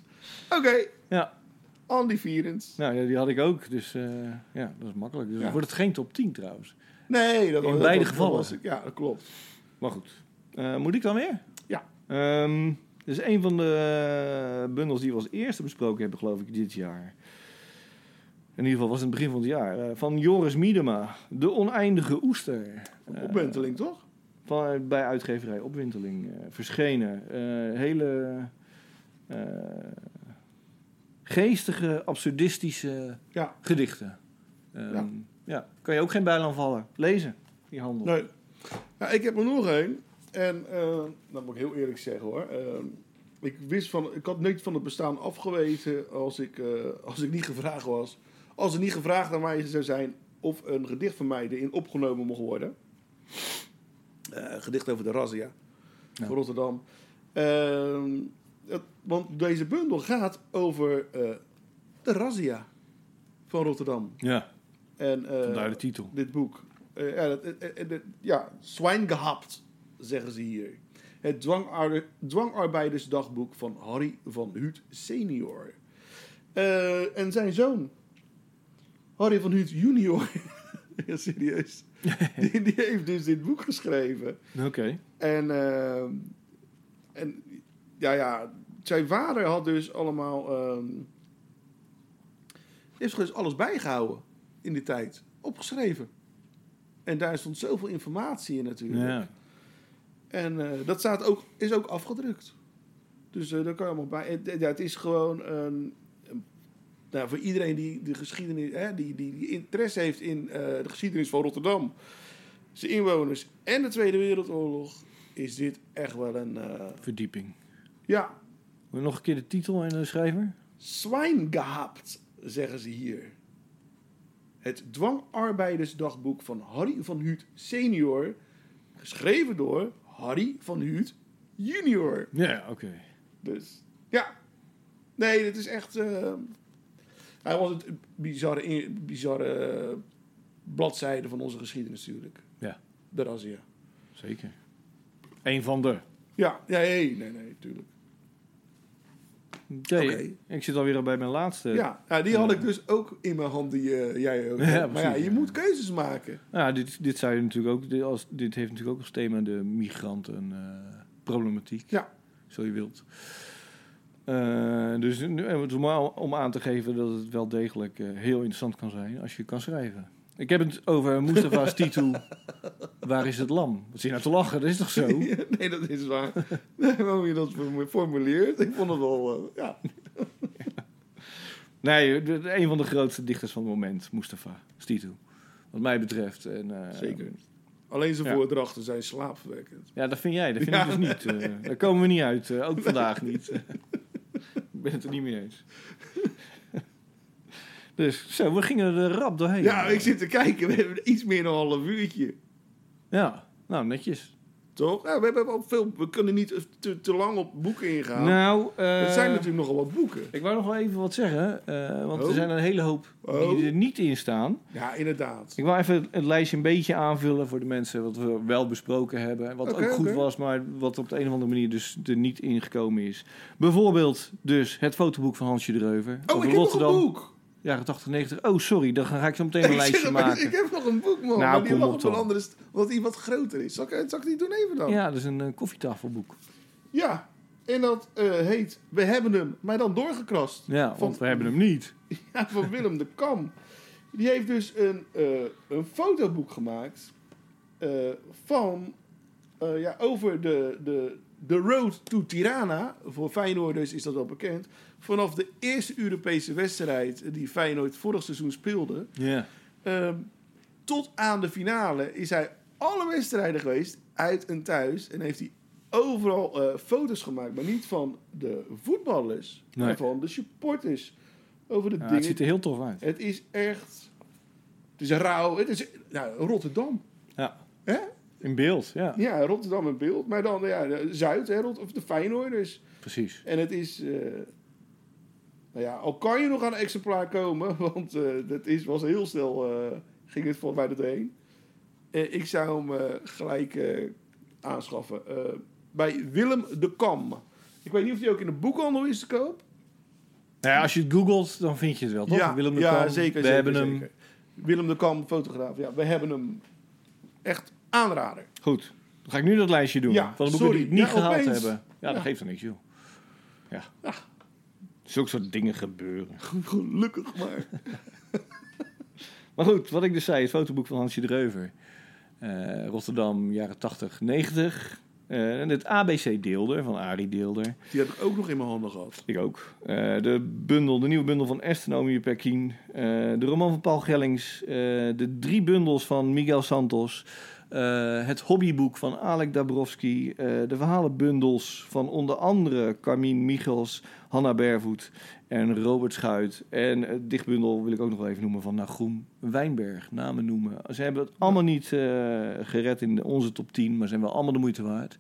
[SPEAKER 7] oké,
[SPEAKER 6] ja.
[SPEAKER 7] Andy Vierens.
[SPEAKER 6] Nou ja, die had ik ook. Dus eh, ja, dat is makkelijk. Dus
[SPEAKER 7] Ja.
[SPEAKER 6] wordt het geen top 10 trouwens.
[SPEAKER 7] Nee, dat
[SPEAKER 6] In
[SPEAKER 7] dat-
[SPEAKER 6] beide
[SPEAKER 7] dat
[SPEAKER 6] gevallen.
[SPEAKER 7] was ik. Ja, dat klopt.
[SPEAKER 6] Maar goed. Eh, moet ik dan weer?
[SPEAKER 7] Ja.
[SPEAKER 6] Ehm, dus een van de eh, bundels die we als eerste besproken hebben, geloof ik, dit jaar. In ieder geval was het begin van het jaar. eh, van Joris Miedema. De oneindige oester. Eh,
[SPEAKER 7] Opwenteling, toch?
[SPEAKER 6] van, eh, bij uitgeverij Opwinteling eh, verschenen. Eh, hele eh, geestige, absurdistische
[SPEAKER 7] Ja.
[SPEAKER 6] gedichten. Ehm,
[SPEAKER 7] Ja.
[SPEAKER 6] ja. kan je ook geen bijl aan vallen. Lezen, die handel.
[SPEAKER 7] Nee. Ja, ik heb er nog één. En eh, dat moet ik heel eerlijk zeggen hoor. Eh, ik, wist van, ik had niks van het bestaan afgeweten als ik, eh, als ik niet gevraagd was. Als er niet gevraagd aan mij zou zijn of een gedicht van mij erin opgenomen mocht worden. Eh, een gedicht over de razzia van Rotterdam. Ehm, het- want deze bundel gaat over eh, de razzia van Rotterdam.
[SPEAKER 6] Ja,
[SPEAKER 7] En, eh,
[SPEAKER 6] vandaar de titel.
[SPEAKER 7] dit boek. Eh, ja, dat, eh, eh, eh, ja, zwijn gehapt, zeggen ze hier. Het dwangarbe- dwangarbeidersdagboek van Harry van Huut senior. Eh, en zijn zoon, Harry van Huut junior. ja, serieus. die, die heeft dus dit boek geschreven.
[SPEAKER 6] Oké.
[SPEAKER 7] En, ehm, en ja, ja, zijn vader had dus allemaal. ehm, die heeft dus alles bijgehouden in die tijd. Opgeschreven. En daar stond zoveel informatie in natuurlijk.
[SPEAKER 6] Ja.
[SPEAKER 7] En eh, dat staat ook, is ook afgedrukt. Dus eh daar kan je allemaal bij. Het, het- ja, het is gewoon. een- een- nou, voor iedereen die de geschiedenis, hè, die, die, die interesse heeft in eh, de geschiedenis van Rotterdam, zijn inwoners en de Tweede Wereldoorlog, is dit echt wel een. eh,
[SPEAKER 6] Verdieping.
[SPEAKER 7] ja,
[SPEAKER 6] Wil je Nog een keer de titel en de schrijver?
[SPEAKER 7] zwijn gehapt, zeggen ze hier. Het dwangarbeidersdagboek van Harry van Huut senior, geschreven door Harry van Huut junior.
[SPEAKER 6] Ja, oké.
[SPEAKER 7] Dus ja. Nee, dit is echt. eh, hij was het bizarre, in- bizarre eh, bladzijde van onze geschiedenis, natuurlijk.
[SPEAKER 6] Ja.
[SPEAKER 7] De razzia.
[SPEAKER 6] Zeker. Eén van de.
[SPEAKER 7] Ja, ja, nee, nee, nee, natuurlijk.
[SPEAKER 6] Oké.
[SPEAKER 7] Oké.
[SPEAKER 6] Ik zit alweer bij mijn laatste.
[SPEAKER 7] Ja, ja, die had ik dus ook in mijn hand, die eh, jij ook.
[SPEAKER 6] Ja,
[SPEAKER 7] had. maar
[SPEAKER 6] precies,
[SPEAKER 7] ja, je
[SPEAKER 6] ja.
[SPEAKER 7] moet keuzes maken.
[SPEAKER 6] Nou ja, dit, dit zou je natuurlijk ook. Dit, als, dit heeft natuurlijk ook als thema de migrantenproblematiek.
[SPEAKER 7] Ja.
[SPEAKER 6] Zo je wilt. Eh, dus nu- en het is maar om aan te geven dat het wel degelijk eh, heel interessant kan zijn als je kan schrijven. Ik heb het over Mustafa's titel Waar is het lam? Wat zit je nou te lachen? Dat is toch zo?
[SPEAKER 7] nee, dat is waar. nee, maar hoe je dat formu- formuleert, ik vond het wel. eh, ja.
[SPEAKER 6] Nee, de- de- een van de grootste dichters van het moment, Mustafa Stitu. Wat mij betreft. En, eh,
[SPEAKER 7] Zeker. Alleen zijn
[SPEAKER 6] Ja.
[SPEAKER 7] voordrachten zijn slaapverwekkend.
[SPEAKER 6] Ja, dat vind jij. Dat vind
[SPEAKER 7] Ja.
[SPEAKER 6] ik dus niet. eh. daar komen we niet uit. eh, ook vandaag niet. ik ben het er niet mee eens. dus zo, we gingen er rap doorheen.
[SPEAKER 7] Ja, ik zit te kijken, we hebben iets meer dan een half uurtje.
[SPEAKER 6] Ja, nou netjes.
[SPEAKER 7] Toch? Ja, we hebben wel veel. We kunnen niet te, te lang op boeken ingaan.
[SPEAKER 6] Nou, eh,
[SPEAKER 7] het zijn natuurlijk nogal wat boeken.
[SPEAKER 6] ik wou nog wel even wat zeggen. eh, want
[SPEAKER 7] Oh.
[SPEAKER 6] er zijn een hele hoop
[SPEAKER 7] Oh.
[SPEAKER 6] die er niet in staan.
[SPEAKER 7] Ja, inderdaad.
[SPEAKER 6] Ik wou even het lijstje een beetje aanvullen voor de mensen wat we wel besproken hebben. Wat
[SPEAKER 7] Oké,
[SPEAKER 6] ook goed
[SPEAKER 7] oké.
[SPEAKER 6] was, maar wat op de een of andere manier dus er niet ingekomen is. Bijvoorbeeld dus het fotoboek van Hansje Dreuver.
[SPEAKER 7] Oh, ik heb nog een boek.
[SPEAKER 6] Jaren 80, 90. Oh, sorry, dan ga ik zo meteen een
[SPEAKER 7] Ik, zeg
[SPEAKER 6] lijstje
[SPEAKER 7] maar, ik
[SPEAKER 6] maken.
[SPEAKER 7] heb nog een boek, man.
[SPEAKER 6] Nou,
[SPEAKER 7] maar die
[SPEAKER 6] kom
[SPEAKER 7] lag
[SPEAKER 6] op
[SPEAKER 7] op een
[SPEAKER 6] dan.
[SPEAKER 7] andere. st- Wat die wat groter is. Zal ik, zal ik die doen even dan? Ja.
[SPEAKER 6] Ja, dat is een eh, koffietafelboek.
[SPEAKER 7] En dat eh, heet We hebben hem, maar dan doorgekrast.
[SPEAKER 6] Ja,
[SPEAKER 7] Van-
[SPEAKER 6] want we hebben hem niet.
[SPEAKER 7] Ja, van Willem de Kam. Die heeft dus een, eh, een fotoboek gemaakt eh, van, eh, ja, over de, de, de road to Tirana. Voor Feyenoorders is dat wel bekend. Vanaf de eerste Europese wedstrijd die Feyenoord vorig seizoen speelde...
[SPEAKER 6] Ja.
[SPEAKER 7] Ehm, tot aan de finale is hij alle wedstrijden geweest, uit en thuis. En heeft hij overal eh, foto's gemaakt, maar niet van de voetballers,
[SPEAKER 6] Nee.
[SPEAKER 7] maar van de supporters. Over de
[SPEAKER 6] Ja,
[SPEAKER 7] dingen.
[SPEAKER 6] het ziet er heel tof uit.
[SPEAKER 7] Het is echt Het is rauw. Het is nou, Rotterdam.
[SPEAKER 6] Ja.
[SPEAKER 7] Hè?
[SPEAKER 6] In beeld, ja.
[SPEAKER 7] Ja, Rotterdam in beeld. Maar dan ja, de Zuid, hè, Rot- of de Feyenoorders.
[SPEAKER 6] Precies.
[SPEAKER 7] En het is... eh, nou ja, al kan je nog aan een exemplaar komen. Want eh dat is, was heel snel... eh, ging het volgens mij erheen. Eh ik zou hem eh, gelijk eh, aanschaffen. Eh, bij Willem de Kam. Ik weet niet of die ook in de boekhandel is te koop.
[SPEAKER 6] Nou ja, als je het googelt, dan vind je het wel, toch? Willem de
[SPEAKER 7] ja,
[SPEAKER 6] Kam,
[SPEAKER 7] zeker.
[SPEAKER 6] We
[SPEAKER 7] zeker,
[SPEAKER 6] hebben hem.
[SPEAKER 7] zeker. Willem de Kam, fotograaf. Ja, we hebben hem. Echt aanrader.
[SPEAKER 6] Goed. Dan ga ik nu dat lijstje doen.
[SPEAKER 7] Ja,
[SPEAKER 6] van de boeken
[SPEAKER 7] sorry.
[SPEAKER 6] die het niet
[SPEAKER 7] Ja,
[SPEAKER 6] gehaald
[SPEAKER 7] opeens.
[SPEAKER 6] hebben. Ja,
[SPEAKER 7] Ja.
[SPEAKER 6] dat geeft dan niks, joh. Ja. Zulke soort dingen gebeuren.
[SPEAKER 7] Gelukkig maar.
[SPEAKER 6] Maar goed, wat ik dus zei, het fotoboek van Hansje Dreuver. Eh, Rotterdam, jaren 80, 90. Eh, en het ABC Deelder, van Arie Deelder.
[SPEAKER 7] Die heb ik ook nog in mijn handen gehad.
[SPEAKER 6] Ik ook. Eh, de, bundel, de nieuwe bundel van Astronomie Perkin. eh, de roman van Paul Gellings. eh, de drie bundels van Miguel Santos. eh, het hobbyboek van Alek Dabrowski. eh, de verhalenbundels van onder andere Carmine Michels, Hanna Bervoet en Robert Schuit. En het dichtbundel wil ik ook nog wel even noemen van Nagroem Wijnberg. Namen noemen. Ze hebben het allemaal niet eh, gered in onze top 10, maar zijn wel allemaal de moeite waard.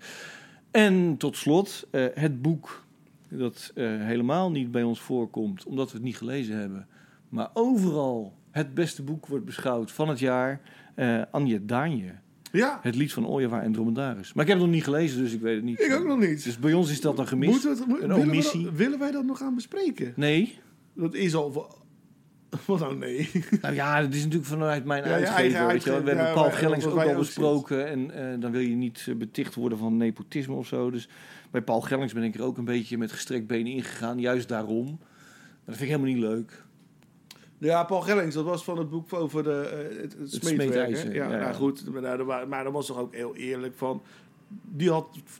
[SPEAKER 6] En tot slot eh, het boek dat eh, helemaal niet bij ons voorkomt, omdat we het niet gelezen hebben. Maar overal het beste boek wordt beschouwd van het jaar. eh Anje Daanje,
[SPEAKER 7] Ja,
[SPEAKER 6] het lied van Ooievaar en Dromedaris. Maar ik heb het nog niet gelezen, dus ik weet het niet.
[SPEAKER 7] ik ook nog niet.
[SPEAKER 6] Dus bij ons is dat dan gemist.
[SPEAKER 7] Moeten we het- mo-
[SPEAKER 6] Een
[SPEAKER 7] willen, we
[SPEAKER 6] omissie.
[SPEAKER 7] dat, willen wij dat nog gaan bespreken?
[SPEAKER 6] Nee,
[SPEAKER 7] Dat is al... voor- Wat nou nee?
[SPEAKER 6] nou ja, dat is natuurlijk vanuit mijn
[SPEAKER 7] Ja, je
[SPEAKER 6] uitgever.
[SPEAKER 7] eigen
[SPEAKER 6] weet je wel. We
[SPEAKER 7] uitgever,
[SPEAKER 6] hebben
[SPEAKER 7] ja,
[SPEAKER 6] Paul
[SPEAKER 7] waar-
[SPEAKER 6] Gellings
[SPEAKER 7] wat
[SPEAKER 6] ook
[SPEAKER 7] wij
[SPEAKER 6] al
[SPEAKER 7] ook
[SPEAKER 6] besproken. En eh, dan wil je niet eh, beticht worden van nepotisme of zo. Dus bij Paul Gellings ben ik er ook een beetje met gestrekt benen ingegaan. Juist daarom. Maar dat vind ik helemaal niet leuk.
[SPEAKER 7] Ja, Paul Gellings, dat was van het boek over de, eh, het, het smeedwerk. hè?
[SPEAKER 6] smeedijzer,
[SPEAKER 7] ja,
[SPEAKER 6] ja, ja.
[SPEAKER 7] Nou goed, maar, daar- daar wa- maar dat was toch ook heel eerlijk van... Die had v-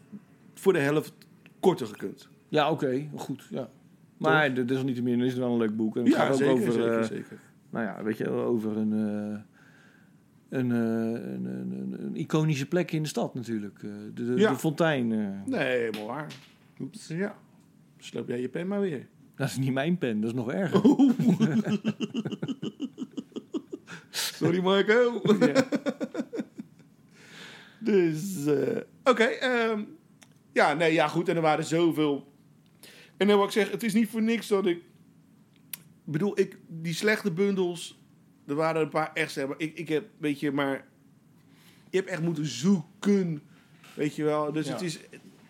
[SPEAKER 7] voor de helft korter gekund.
[SPEAKER 6] Ja, oké, goed. Ja. Maar de- desalniettemin is het wel een leuk boek. En het gaat ook over, eh,
[SPEAKER 7] zeker.
[SPEAKER 6] Nou ja, weet je, wel, over een, eh, een, eh, een, een, een- een iconische plek in de stad natuurlijk. Eh, De, de,
[SPEAKER 7] Ja.
[SPEAKER 6] de fontein. eh.
[SPEAKER 7] Nee, helemaal waar. Ja. Sloop jij je pen maar weer.
[SPEAKER 6] Dat is niet mijn pen, dat is nog erger.
[SPEAKER 7] Sorry, Marco. dus, eh, oké. ehm, ja, nee, ja, goed. En er waren zoveel. En dan wat ik zeg, het is niet voor niks dat ik... Ik bedoel, ik, die slechte bundels... Er waren een paar echt... zeg maar, Ik, ik heb, weet je, maar... Je hebt echt moeten zoeken. Weet je wel. Dus
[SPEAKER 6] Ja.
[SPEAKER 7] het is...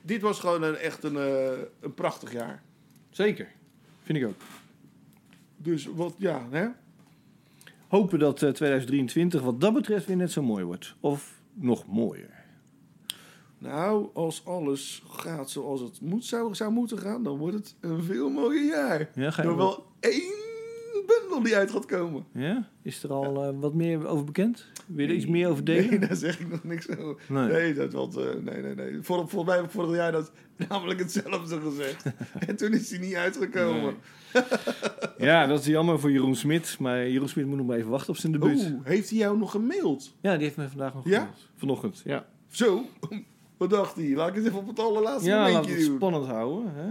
[SPEAKER 7] Dit was gewoon een, echt een, eh, een prachtig jaar.
[SPEAKER 6] Zeker, vind ik ook.
[SPEAKER 7] Dus wat, ja, hè?
[SPEAKER 6] Hopen dat eh, 2023 wat dat betreft weer net zo mooi wordt. Of nog mooier.
[SPEAKER 7] Nou, als alles gaat zoals het moet, zou, zou moeten gaan, dan wordt het een veel mooier jaar.
[SPEAKER 6] Ja, ga je
[SPEAKER 7] Door wel één bundel die uit gaat komen.
[SPEAKER 6] Ja? Is er al eh, wat meer over bekend? Wil je er iets meer over delen?
[SPEAKER 7] Nee, daar zeg ik nog niks over.
[SPEAKER 6] Nee.
[SPEAKER 7] Nee, dat was, eh, nee, nee, nee. Vor, volgens mij heb ik vorig jaar dat namelijk hetzelfde gezegd. en toen is hij niet uitgekomen.
[SPEAKER 6] Ja, dat is jammer voor Jeroen Smit. Maar Jeroen Smit moet nog maar even wachten op zijn debuut.
[SPEAKER 7] Oeh, heeft hij jou nog gemaild?
[SPEAKER 6] Ja, die heeft me vandaag nog
[SPEAKER 7] Ja?
[SPEAKER 6] gemaild. Vanochtend, ja.
[SPEAKER 7] Zo, wat dacht hij? Laat ik het even op het allerlaatste
[SPEAKER 6] Ja, laten we
[SPEAKER 7] momentje
[SPEAKER 6] het
[SPEAKER 7] doen.
[SPEAKER 6] spannend houden. Hè?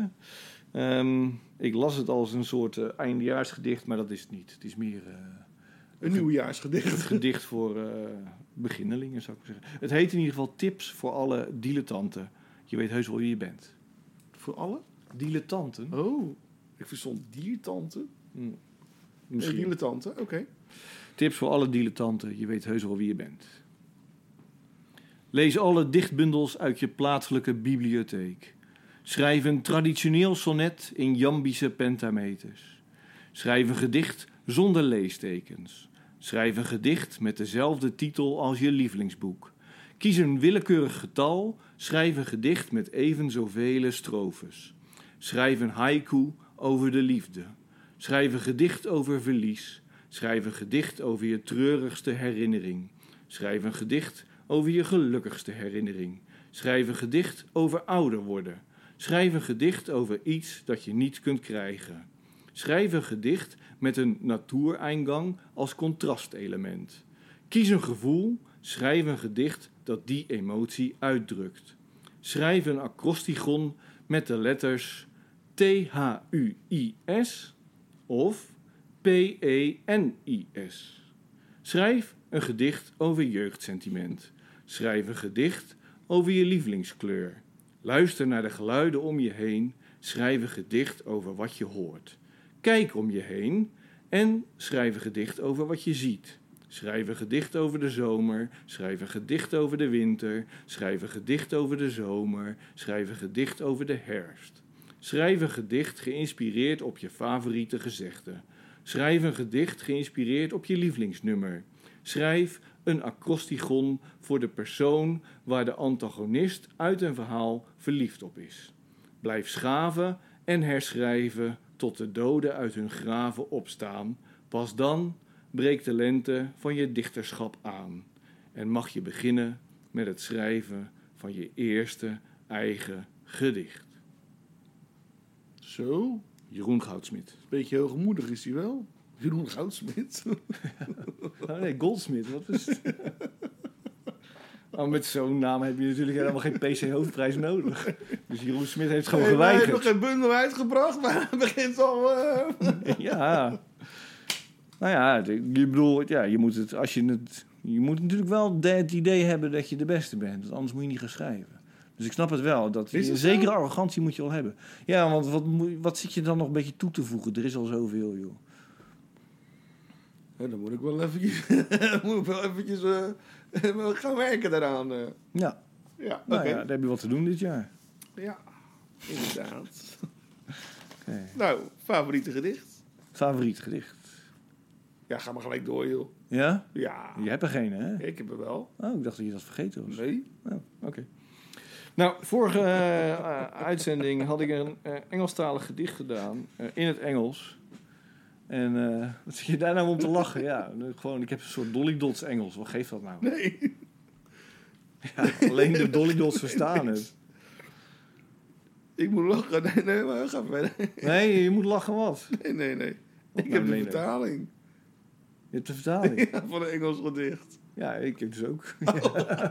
[SPEAKER 6] Ehm, ik las het als een soort eh, eindejaarsgedicht, maar dat is het niet. Het is meer eh,
[SPEAKER 7] Een
[SPEAKER 6] een
[SPEAKER 7] nieuwjaarsgedicht.
[SPEAKER 6] gedicht voor eh beginnelingen, zou ik maar zeggen. Het heet in ieder geval Tips voor alle dilettanten. Je weet heus wel wie je bent.
[SPEAKER 7] Voor alle?
[SPEAKER 6] Dilettanten?
[SPEAKER 7] Oh, ik verstond diertante.
[SPEAKER 6] Misschien.
[SPEAKER 7] Diertante, oké.
[SPEAKER 6] Tips voor alle dilettanten. Je weet heus wel wie je bent. Lees alle dichtbundels uit je plaatselijke bibliotheek. Schrijf een traditioneel sonnet in jambische pentameters. Schrijf een gedicht zonder leestekens. Schrijf een gedicht met dezelfde titel als je lievelingsboek. Kies een willekeurig getal. Schrijf een gedicht met even zoveel strofes. Schrijf een haiku over de liefde. Schrijf een gedicht over verlies. Schrijf een gedicht over je treurigste herinnering. Schrijf een gedicht over je gelukkigste herinnering. Schrijf een gedicht over ouder worden. Schrijf een gedicht over iets dat je niet kunt krijgen. Schrijf een gedicht met een natuureingang als contrastelement. Kies een gevoel, schrijf een gedicht dat die emotie uitdrukt. Schrijf een acrostigon met de letters E T-H-U-I-S of P-E-N-I-S. Schrijf een gedicht over jeugdsentiment. Schrijf een gedicht over je lievelingskleur. Luister naar de geluiden om je heen. Schrijf een gedicht over wat je hoort. Kijk om je heen en schrijf een gedicht over wat je ziet. Schrijf een gedicht over de zomer. Schrijf een gedicht over de winter. Schrijf een gedicht over de zomer. Schrijf een gedicht over de herfst. Schrijf een gedicht geïnspireerd op je favoriete gezegde. Schrijf een gedicht geïnspireerd op je lievelingsnummer. Schrijf een acrostigon voor de persoon waar de antagonist uit een verhaal verliefd op is. Blijf schaven en herschrijven tot de doden uit hun graven opstaan. Pas dan breekt de lente van je dichterschap aan en mag je beginnen met het schrijven van je eerste eigen gedicht.
[SPEAKER 7] Zo.
[SPEAKER 6] Jeroen Goudsmit.
[SPEAKER 7] Beetje hoogmoedig is hij wel. Jeroen Goudsmit.
[SPEAKER 6] Oh nee, Goldsmith, wat is het? Oh, met zo'n naam heb je natuurlijk helemaal geen PC-hoofdprijs nodig. Dus Jeroen Smit heeft gewoon
[SPEAKER 7] Hey, maar Hij heeft nog
[SPEAKER 6] geweigerd.
[SPEAKER 7] geen bundel uitgebracht, maar hij begint al... eh,
[SPEAKER 6] Ja. Nou ja, het- je bedoelt, ja, je moet het, als je het... Je moet natuurlijk wel de- het idee hebben dat je de beste bent. Want anders moet je niet gaan schrijven. Dus ik snap het wel. Dat,
[SPEAKER 7] Is
[SPEAKER 6] een
[SPEAKER 7] het
[SPEAKER 6] zekere
[SPEAKER 7] zo?
[SPEAKER 6] arrogantie moet je al hebben. Ja, want wat, moet- wat zit je dan nog een beetje toe te voegen? Er is al zoveel, joh.
[SPEAKER 7] Ja, dan moet ik wel eventjes, moet ik wel eventjes eh, wel gaan werken daaraan. eh.
[SPEAKER 6] Ja,
[SPEAKER 7] Ja, oké.
[SPEAKER 6] nou ja, daar heb je wat te doen dit jaar.
[SPEAKER 7] ja. inderdaad.
[SPEAKER 6] Oké.
[SPEAKER 7] Nou, favoriete gedicht?
[SPEAKER 6] Favoriet gedicht.
[SPEAKER 7] Ja, ga maar gelijk door, joh.
[SPEAKER 6] Ja?
[SPEAKER 7] Ja,
[SPEAKER 6] Je hebt er geen, hè?
[SPEAKER 7] ik heb er wel.
[SPEAKER 6] Oh, ik dacht dat je dat vergeten was.
[SPEAKER 7] Nee?
[SPEAKER 6] Oh, oké. Nou, vorige eh, eh, uitzending had ik een eh, Engelstalig gedicht gedaan eh, in het Engels. En eh, wat zit je daar nou om te lachen? Ja, nu gewoon, ik heb een soort Dolly Dots Engels. Wat geeft dat nou?
[SPEAKER 7] Nee.
[SPEAKER 6] Ja, alleen de Dolly Dots verstaan het.
[SPEAKER 7] Ik moet lachen. Nee, nee, maar ga verder.
[SPEAKER 6] Nee, je moet lachen wat?
[SPEAKER 7] Nee, nee, nee.
[SPEAKER 6] Wat
[SPEAKER 7] Ik
[SPEAKER 6] nou,
[SPEAKER 7] heb de
[SPEAKER 6] nee, nee?
[SPEAKER 7] vertaling
[SPEAKER 6] Je hebt de vertaling.
[SPEAKER 7] ja, van een Engels gedicht.
[SPEAKER 6] Ja, ik heb dus ook.
[SPEAKER 7] Oh.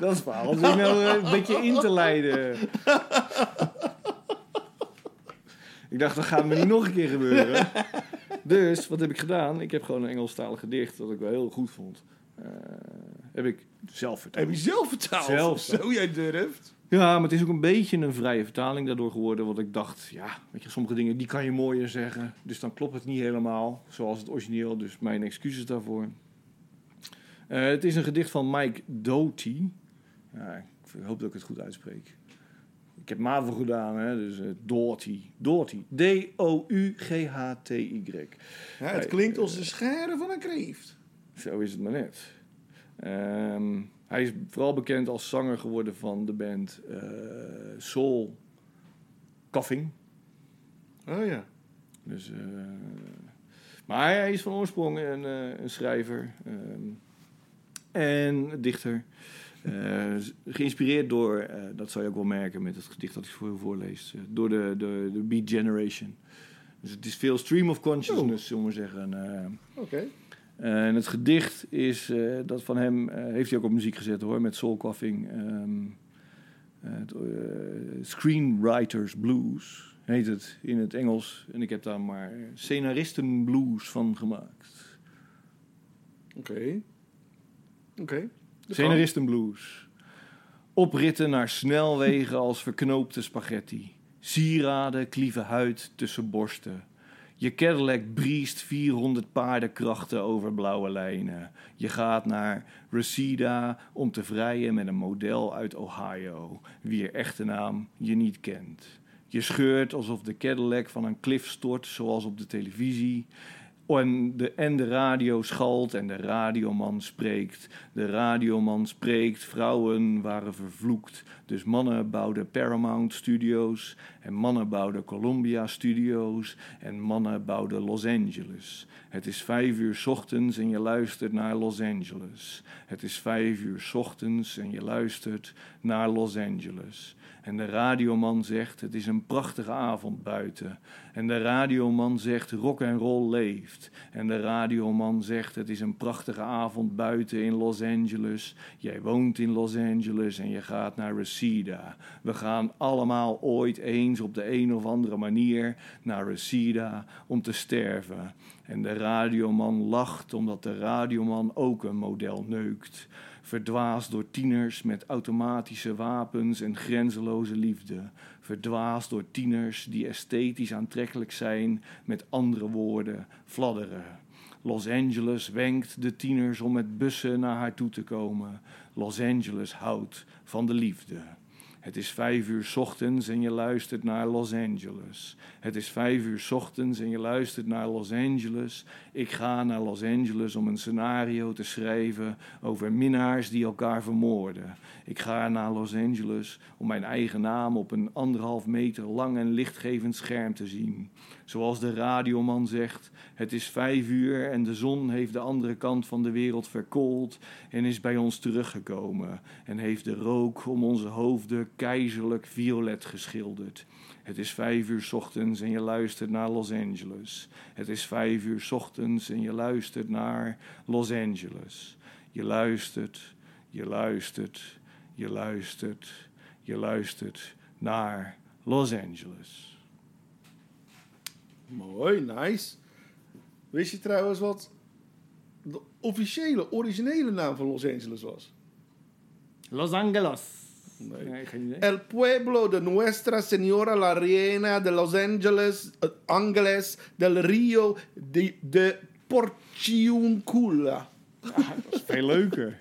[SPEAKER 6] Dat is waar. Als ik nou eh, een beetje in te leiden. Ik dacht, dat gaat me niet nog een keer gebeuren. Dus, wat heb ik gedaan? Ik heb gewoon een Engelstalig gedicht dat ik wel heel goed vond. Eh, heb ik zelf vertaald.
[SPEAKER 7] Heb je zelf vertaald?
[SPEAKER 6] Zelf.
[SPEAKER 7] Zo jij durft.
[SPEAKER 6] Ja, maar het is ook een beetje een vrije vertaling daardoor geworden. Want ik dacht, ja, weet je, sommige dingen die kan je mooier zeggen. Dus dan klopt het niet helemaal zoals het origineel. Dus mijn excuses daarvoor. Eh, het is een gedicht van Mike Doty. Ja, ik hoop dat ik het goed uitspreek. Ik heb MAVO gedaan, hè, dus eh Doughty. Doughty. D-O-U-G-H-T-Y.
[SPEAKER 7] Ja, het klinkt als de scharen van een kreeft.
[SPEAKER 6] Zo is het maar net. Ehm, hij is vooral bekend als zanger geworden van de band eh, Soul Coughing.
[SPEAKER 7] Oh ja.
[SPEAKER 6] Dus, eh, maar hij is van oorsprong een, eh, een schrijver ehm, en dichter. Eh, geïnspireerd door, eh, dat zal je ook wel merken met het gedicht dat ik voor je voorlees, eh, door de, de, de Beat Generation. Dus het is veel stream of consciousness, zullen we zeggen. eh.
[SPEAKER 7] Oké.
[SPEAKER 6] Eh, en het gedicht is eh, dat van hem, eh, heeft hij ook op muziek gezet hoor, met Soul Coughing. ehm, het, eh, Screenwriters Blues heet het in het Engels. En ik heb daar maar Scenaristen Blues van gemaakt.
[SPEAKER 7] Oké. Oké. Dat kan.
[SPEAKER 6] Scenaristen Blues. Opritten naar snelwegen als verknoopte spaghetti. Sieraden klieven huid tussen borsten. Je Cadillac briest 400 paardenkrachten over blauwe lijnen. Je gaat naar Reseda om te vrijen met een model uit Ohio, wier echte naam je niet kent. Je scheurt alsof de Cadillac van een klif stort, zoals op de televisie. En de, en de radio schalt en de radioman spreekt. De radioman spreekt, vrouwen waren vervloekt. Dus mannen bouwden Paramount Studios. En mannen bouwden Columbia Studios. En mannen bouwden Los Angeles. Het is vijf uur 's ochtends en je luistert naar Los Angeles. Het is vijf uur 's ochtends en je luistert naar Los Angeles. En de radioman zegt: Het is een prachtige avond buiten. En de radioman zegt: Rock and roll leeft. geweest. En de radioman zegt: Het is een prachtige avond buiten in Los Angeles. Jij woont in Los Angeles en je gaat naar Reseda. We gaan allemaal ooit eens op de een of andere manier naar Reseda om te sterven. En de radioman lacht omdat de radioman ook een model neukt. Verdwaasd door tieners met automatische wapens en grenzeloze liefde. Verdwaasd door tieners die esthetisch aantrekkelijk zijn, met andere woorden, fladderen. Los Angeles wenkt de tieners om met bussen naar haar toe te komen. Los Angeles houdt van de liefde. Het is vijf uur 's ochtends en je luistert naar Los Angeles. Het is vijf uur 's ochtends en je luistert naar Los Angeles. Ik ga naar Los Angeles om een scenario te schrijven over minnaars die elkaar vermoorden. Ik ga naar Los Angeles om mijn eigen naam op een anderhalf meter lang en lichtgevend scherm te zien. Zoals de radioman zegt, het is vijf uur en de zon heeft de andere kant van de wereld verkoold en is bij ons teruggekomen en heeft de rook om onze hoofden keizerlijk violet geschilderd. Het is vijf uur 's ochtends en je luistert naar Los Angeles. Het is vijf uur 's ochtends en je luistert naar Los Angeles. Je luistert, je luistert, je luistert, je luistert naar Los Angeles.
[SPEAKER 7] Mooi, nice. Wist je trouwens wat de officiële, originele naam van Los Angeles was?
[SPEAKER 6] Los Angeles.
[SPEAKER 7] Nee.
[SPEAKER 6] geen idee.
[SPEAKER 7] El pueblo de Nuestra Señora la Reina de Los Angeles, eh, Angeles del Rio de, de Porciuncula.
[SPEAKER 6] Dat is veel leuker.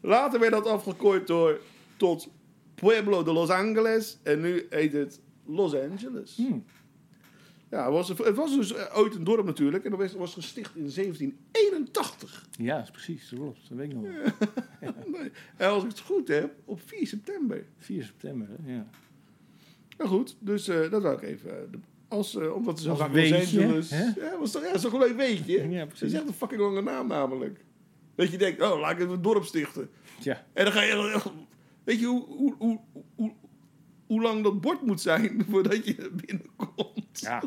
[SPEAKER 7] Later werd dat afgekooid door tot Pueblo de Los Angeles en nu heet het Los Angeles.
[SPEAKER 6] Hmm.
[SPEAKER 7] Ja, het was, het was dus eh, ooit een dorp natuurlijk en dat was, was gesticht in 1781.
[SPEAKER 6] Ja, is precies. Dat klopt. Dat weet ik nog. wel.
[SPEAKER 7] Nee, En als ik het goed heb, op 4 september.
[SPEAKER 6] 4 september, hè? ja.
[SPEAKER 7] Nou goed, dus eh, dat wou ik even. eh, de- als, eh, omdat ze zo
[SPEAKER 6] Als
[SPEAKER 7] vaak
[SPEAKER 6] weetje,
[SPEAKER 7] Los Angeles.
[SPEAKER 6] hè?
[SPEAKER 7] Ja, was toch, ja, is toch een leuk weetje?
[SPEAKER 6] Ja,
[SPEAKER 7] Ze
[SPEAKER 6] precies.
[SPEAKER 7] is echt een fucking lange naam namelijk. Dat je denkt, oh, laat ik even een dorp stichten.
[SPEAKER 6] Ja.
[SPEAKER 7] En dan ga je. Weet je hoe, hoe, hoe, hoe, hoe lang dat bord moet zijn voordat je binnenkomt?
[SPEAKER 6] Ja,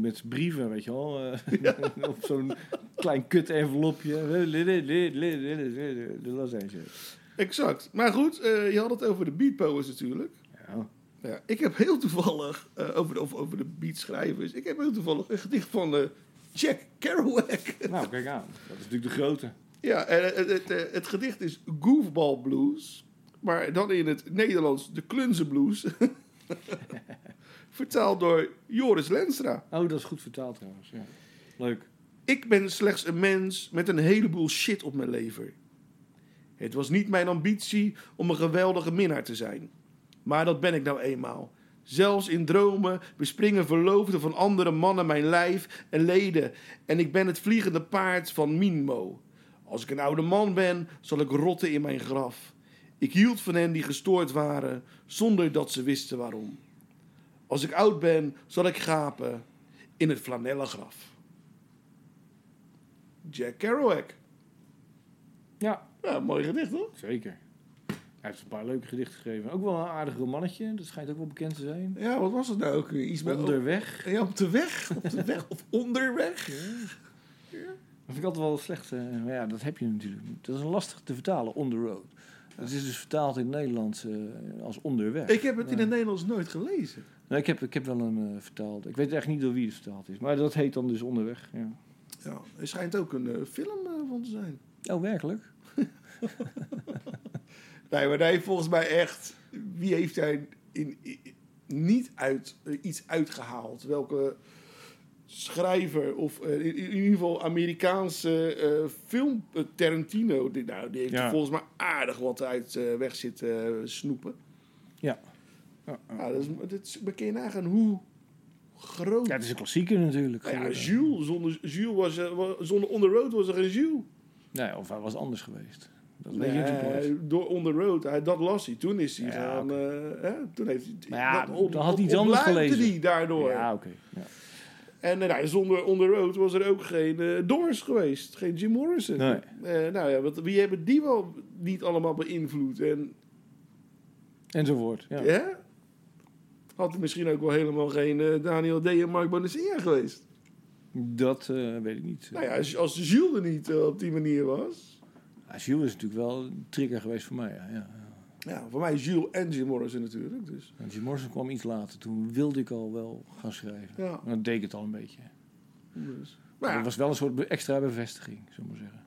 [SPEAKER 6] met brieven, weet je wel. eh, op zo'n klein kut envelopje. De Los Angeles.
[SPEAKER 7] Exact. Maar goed, eh, je had het over de beatpoets natuurlijk.
[SPEAKER 6] Ja.
[SPEAKER 7] Ja, ik heb heel toevallig, eh, over, de, of over de beatschrijvers, ik heb heel toevallig een gedicht van eh, Jack Kerouac.
[SPEAKER 6] Nou, kijk aan. Dat is natuurlijk de grote.
[SPEAKER 7] Ja, en het, het, eh, het, het gedicht is Goofball Blues. Maar dan in het Nederlands de Klunze Blues. Vertaald door Joris Lenstra.
[SPEAKER 6] Oh, dat is goed vertaald trouwens. Ja. Leuk.
[SPEAKER 7] Ik ben slechts een mens met een heleboel shit op mijn lever. Het was niet mijn ambitie om een geweldige minnaar te zijn. Maar dat ben ik nou eenmaal. Zelfs in dromen bespringen verloofden van andere mannen mijn lijf en leden. En ik ben het vliegende paard van Minmo. Als ik een oude man ben, zal ik rotten in mijn graf. Ik hield van hen die gestoord waren, zonder dat ze wisten waarom. Als ik oud ben, zal ik gapen in het flanellen graf. Jack Kerouac.
[SPEAKER 6] Ja,
[SPEAKER 7] Ja, mooi gedicht, hoor.
[SPEAKER 6] zeker. Hij heeft een paar leuke gedichten geschreven. Ook wel een aardig romannetje. Dat schijnt ook wel bekend te zijn.
[SPEAKER 7] Ja, wat was het nou ook weer? Iets met...
[SPEAKER 6] Onderweg.
[SPEAKER 7] Ja, op de weg. Op de weg. Of onderweg.
[SPEAKER 6] Dat vind ik altijd wel slecht. eh, maar ja, dat heb je natuurlijk niet. Dat is lastig te vertalen, on the road. Het is dus vertaald in het Nederlands eh, als onderweg.
[SPEAKER 7] Ik heb het in
[SPEAKER 6] Ja.
[SPEAKER 7] het Nederlands nooit gelezen.
[SPEAKER 6] Nee, Nou, ik, heb, ik heb wel een eh, vertaald. Ik weet echt niet door wie het vertaald is. Maar dat heet dan dus onderweg. Ja.
[SPEAKER 7] Ja, er schijnt ook een eh, film eh, van te zijn.
[SPEAKER 6] Oh, werkelijk?
[SPEAKER 7] Nee, maar hij heeft volgens mij echt... Wie heeft hij in, i- niet uit, eh, iets uitgehaald? Welke schrijver of eh, in, in ieder geval Amerikaanse eh, film... eh, Tarantino, die, nou, die heeft
[SPEAKER 6] Ja.
[SPEAKER 7] er volgens mij aardig wat uit eh, weg zitten eh, snoepen.
[SPEAKER 6] Ja. Ja, eh.
[SPEAKER 7] Ja, dat is, dat is, maar kun je nagaan hoe groot...
[SPEAKER 6] Ja, het is een klassieker natuurlijk. eh,
[SPEAKER 7] Nou ja,
[SPEAKER 6] geworden.
[SPEAKER 7] Jules, zonder, Jules was, er- wa- zonder On The Road was er geen Jules.
[SPEAKER 6] Nee, of hij was anders geweest. Dat weet je natuurlijk nooit.
[SPEAKER 7] hij- door On The Road, hij, dat las hij. Toen is hij
[SPEAKER 6] Ja,
[SPEAKER 7] gaan... eh, hè, toen heeft hij...
[SPEAKER 6] Maar ja,
[SPEAKER 7] dat
[SPEAKER 6] dan had hij iets anders
[SPEAKER 7] ontluikte
[SPEAKER 6] gelezen.
[SPEAKER 7] hij daardoor.
[SPEAKER 6] Ja, oké. Ja.
[SPEAKER 7] En eh, nou, zonder On The Road was er ook geen eh, Doors geweest. Geen Jim Morrison.
[SPEAKER 6] Nee.
[SPEAKER 7] Eh, nou ja, wat, wie hebben die wel niet allemaal beïnvloed? En
[SPEAKER 6] Enzovoort. Ja.
[SPEAKER 7] hè? had er misschien ook wel helemaal geen eh, Daniel D. en Mark Bonacina geweest.
[SPEAKER 6] Dat eh, weet ik niet.
[SPEAKER 7] Nou ja, als, als Jules er niet eh, op die manier was.
[SPEAKER 6] Asiel is natuurlijk wel een trigger geweest voor mij. Ja, ja.
[SPEAKER 7] Ja, voor mij Jules en Jim Morrison natuurlijk. Dus.
[SPEAKER 6] En Jim Morrison kwam iets later. Toen wilde ik al wel gaan schrijven.
[SPEAKER 7] Ja.
[SPEAKER 6] Maar dat deed ik het al een beetje.
[SPEAKER 7] dus.
[SPEAKER 6] Maar dat
[SPEAKER 7] Nou ja,
[SPEAKER 6] was wel een soort be- extra bevestiging, zullen we maar zeggen.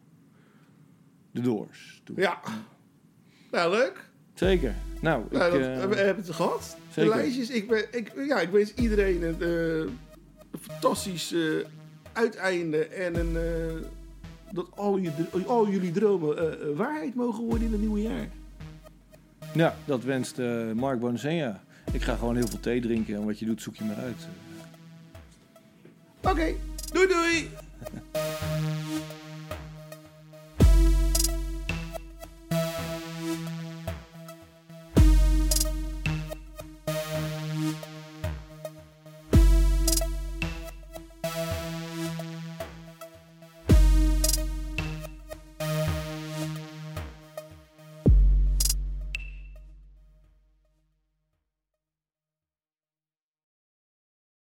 [SPEAKER 6] De Doors. Toen.
[SPEAKER 7] ja. Nou, leuk.
[SPEAKER 6] Zeker. Nou, ik,
[SPEAKER 7] Nou, dat,
[SPEAKER 6] eh,
[SPEAKER 7] we hebben het gehad.
[SPEAKER 6] zeker.
[SPEAKER 7] De lijstjes. Ik, ben, ik, ja, ik wens iedereen een, eh, een fantastisch eh, uiteinde. En een, eh, dat al, je, dr- al jullie dromen eh, eh, waarheid mogen worden in het nieuwe jaar.
[SPEAKER 6] ja, dat wenst eh, Mark Bonacena. Ik ga gewoon heel veel thee drinken. En wat je doet, zoek je maar uit.
[SPEAKER 7] Oké. Doei doei.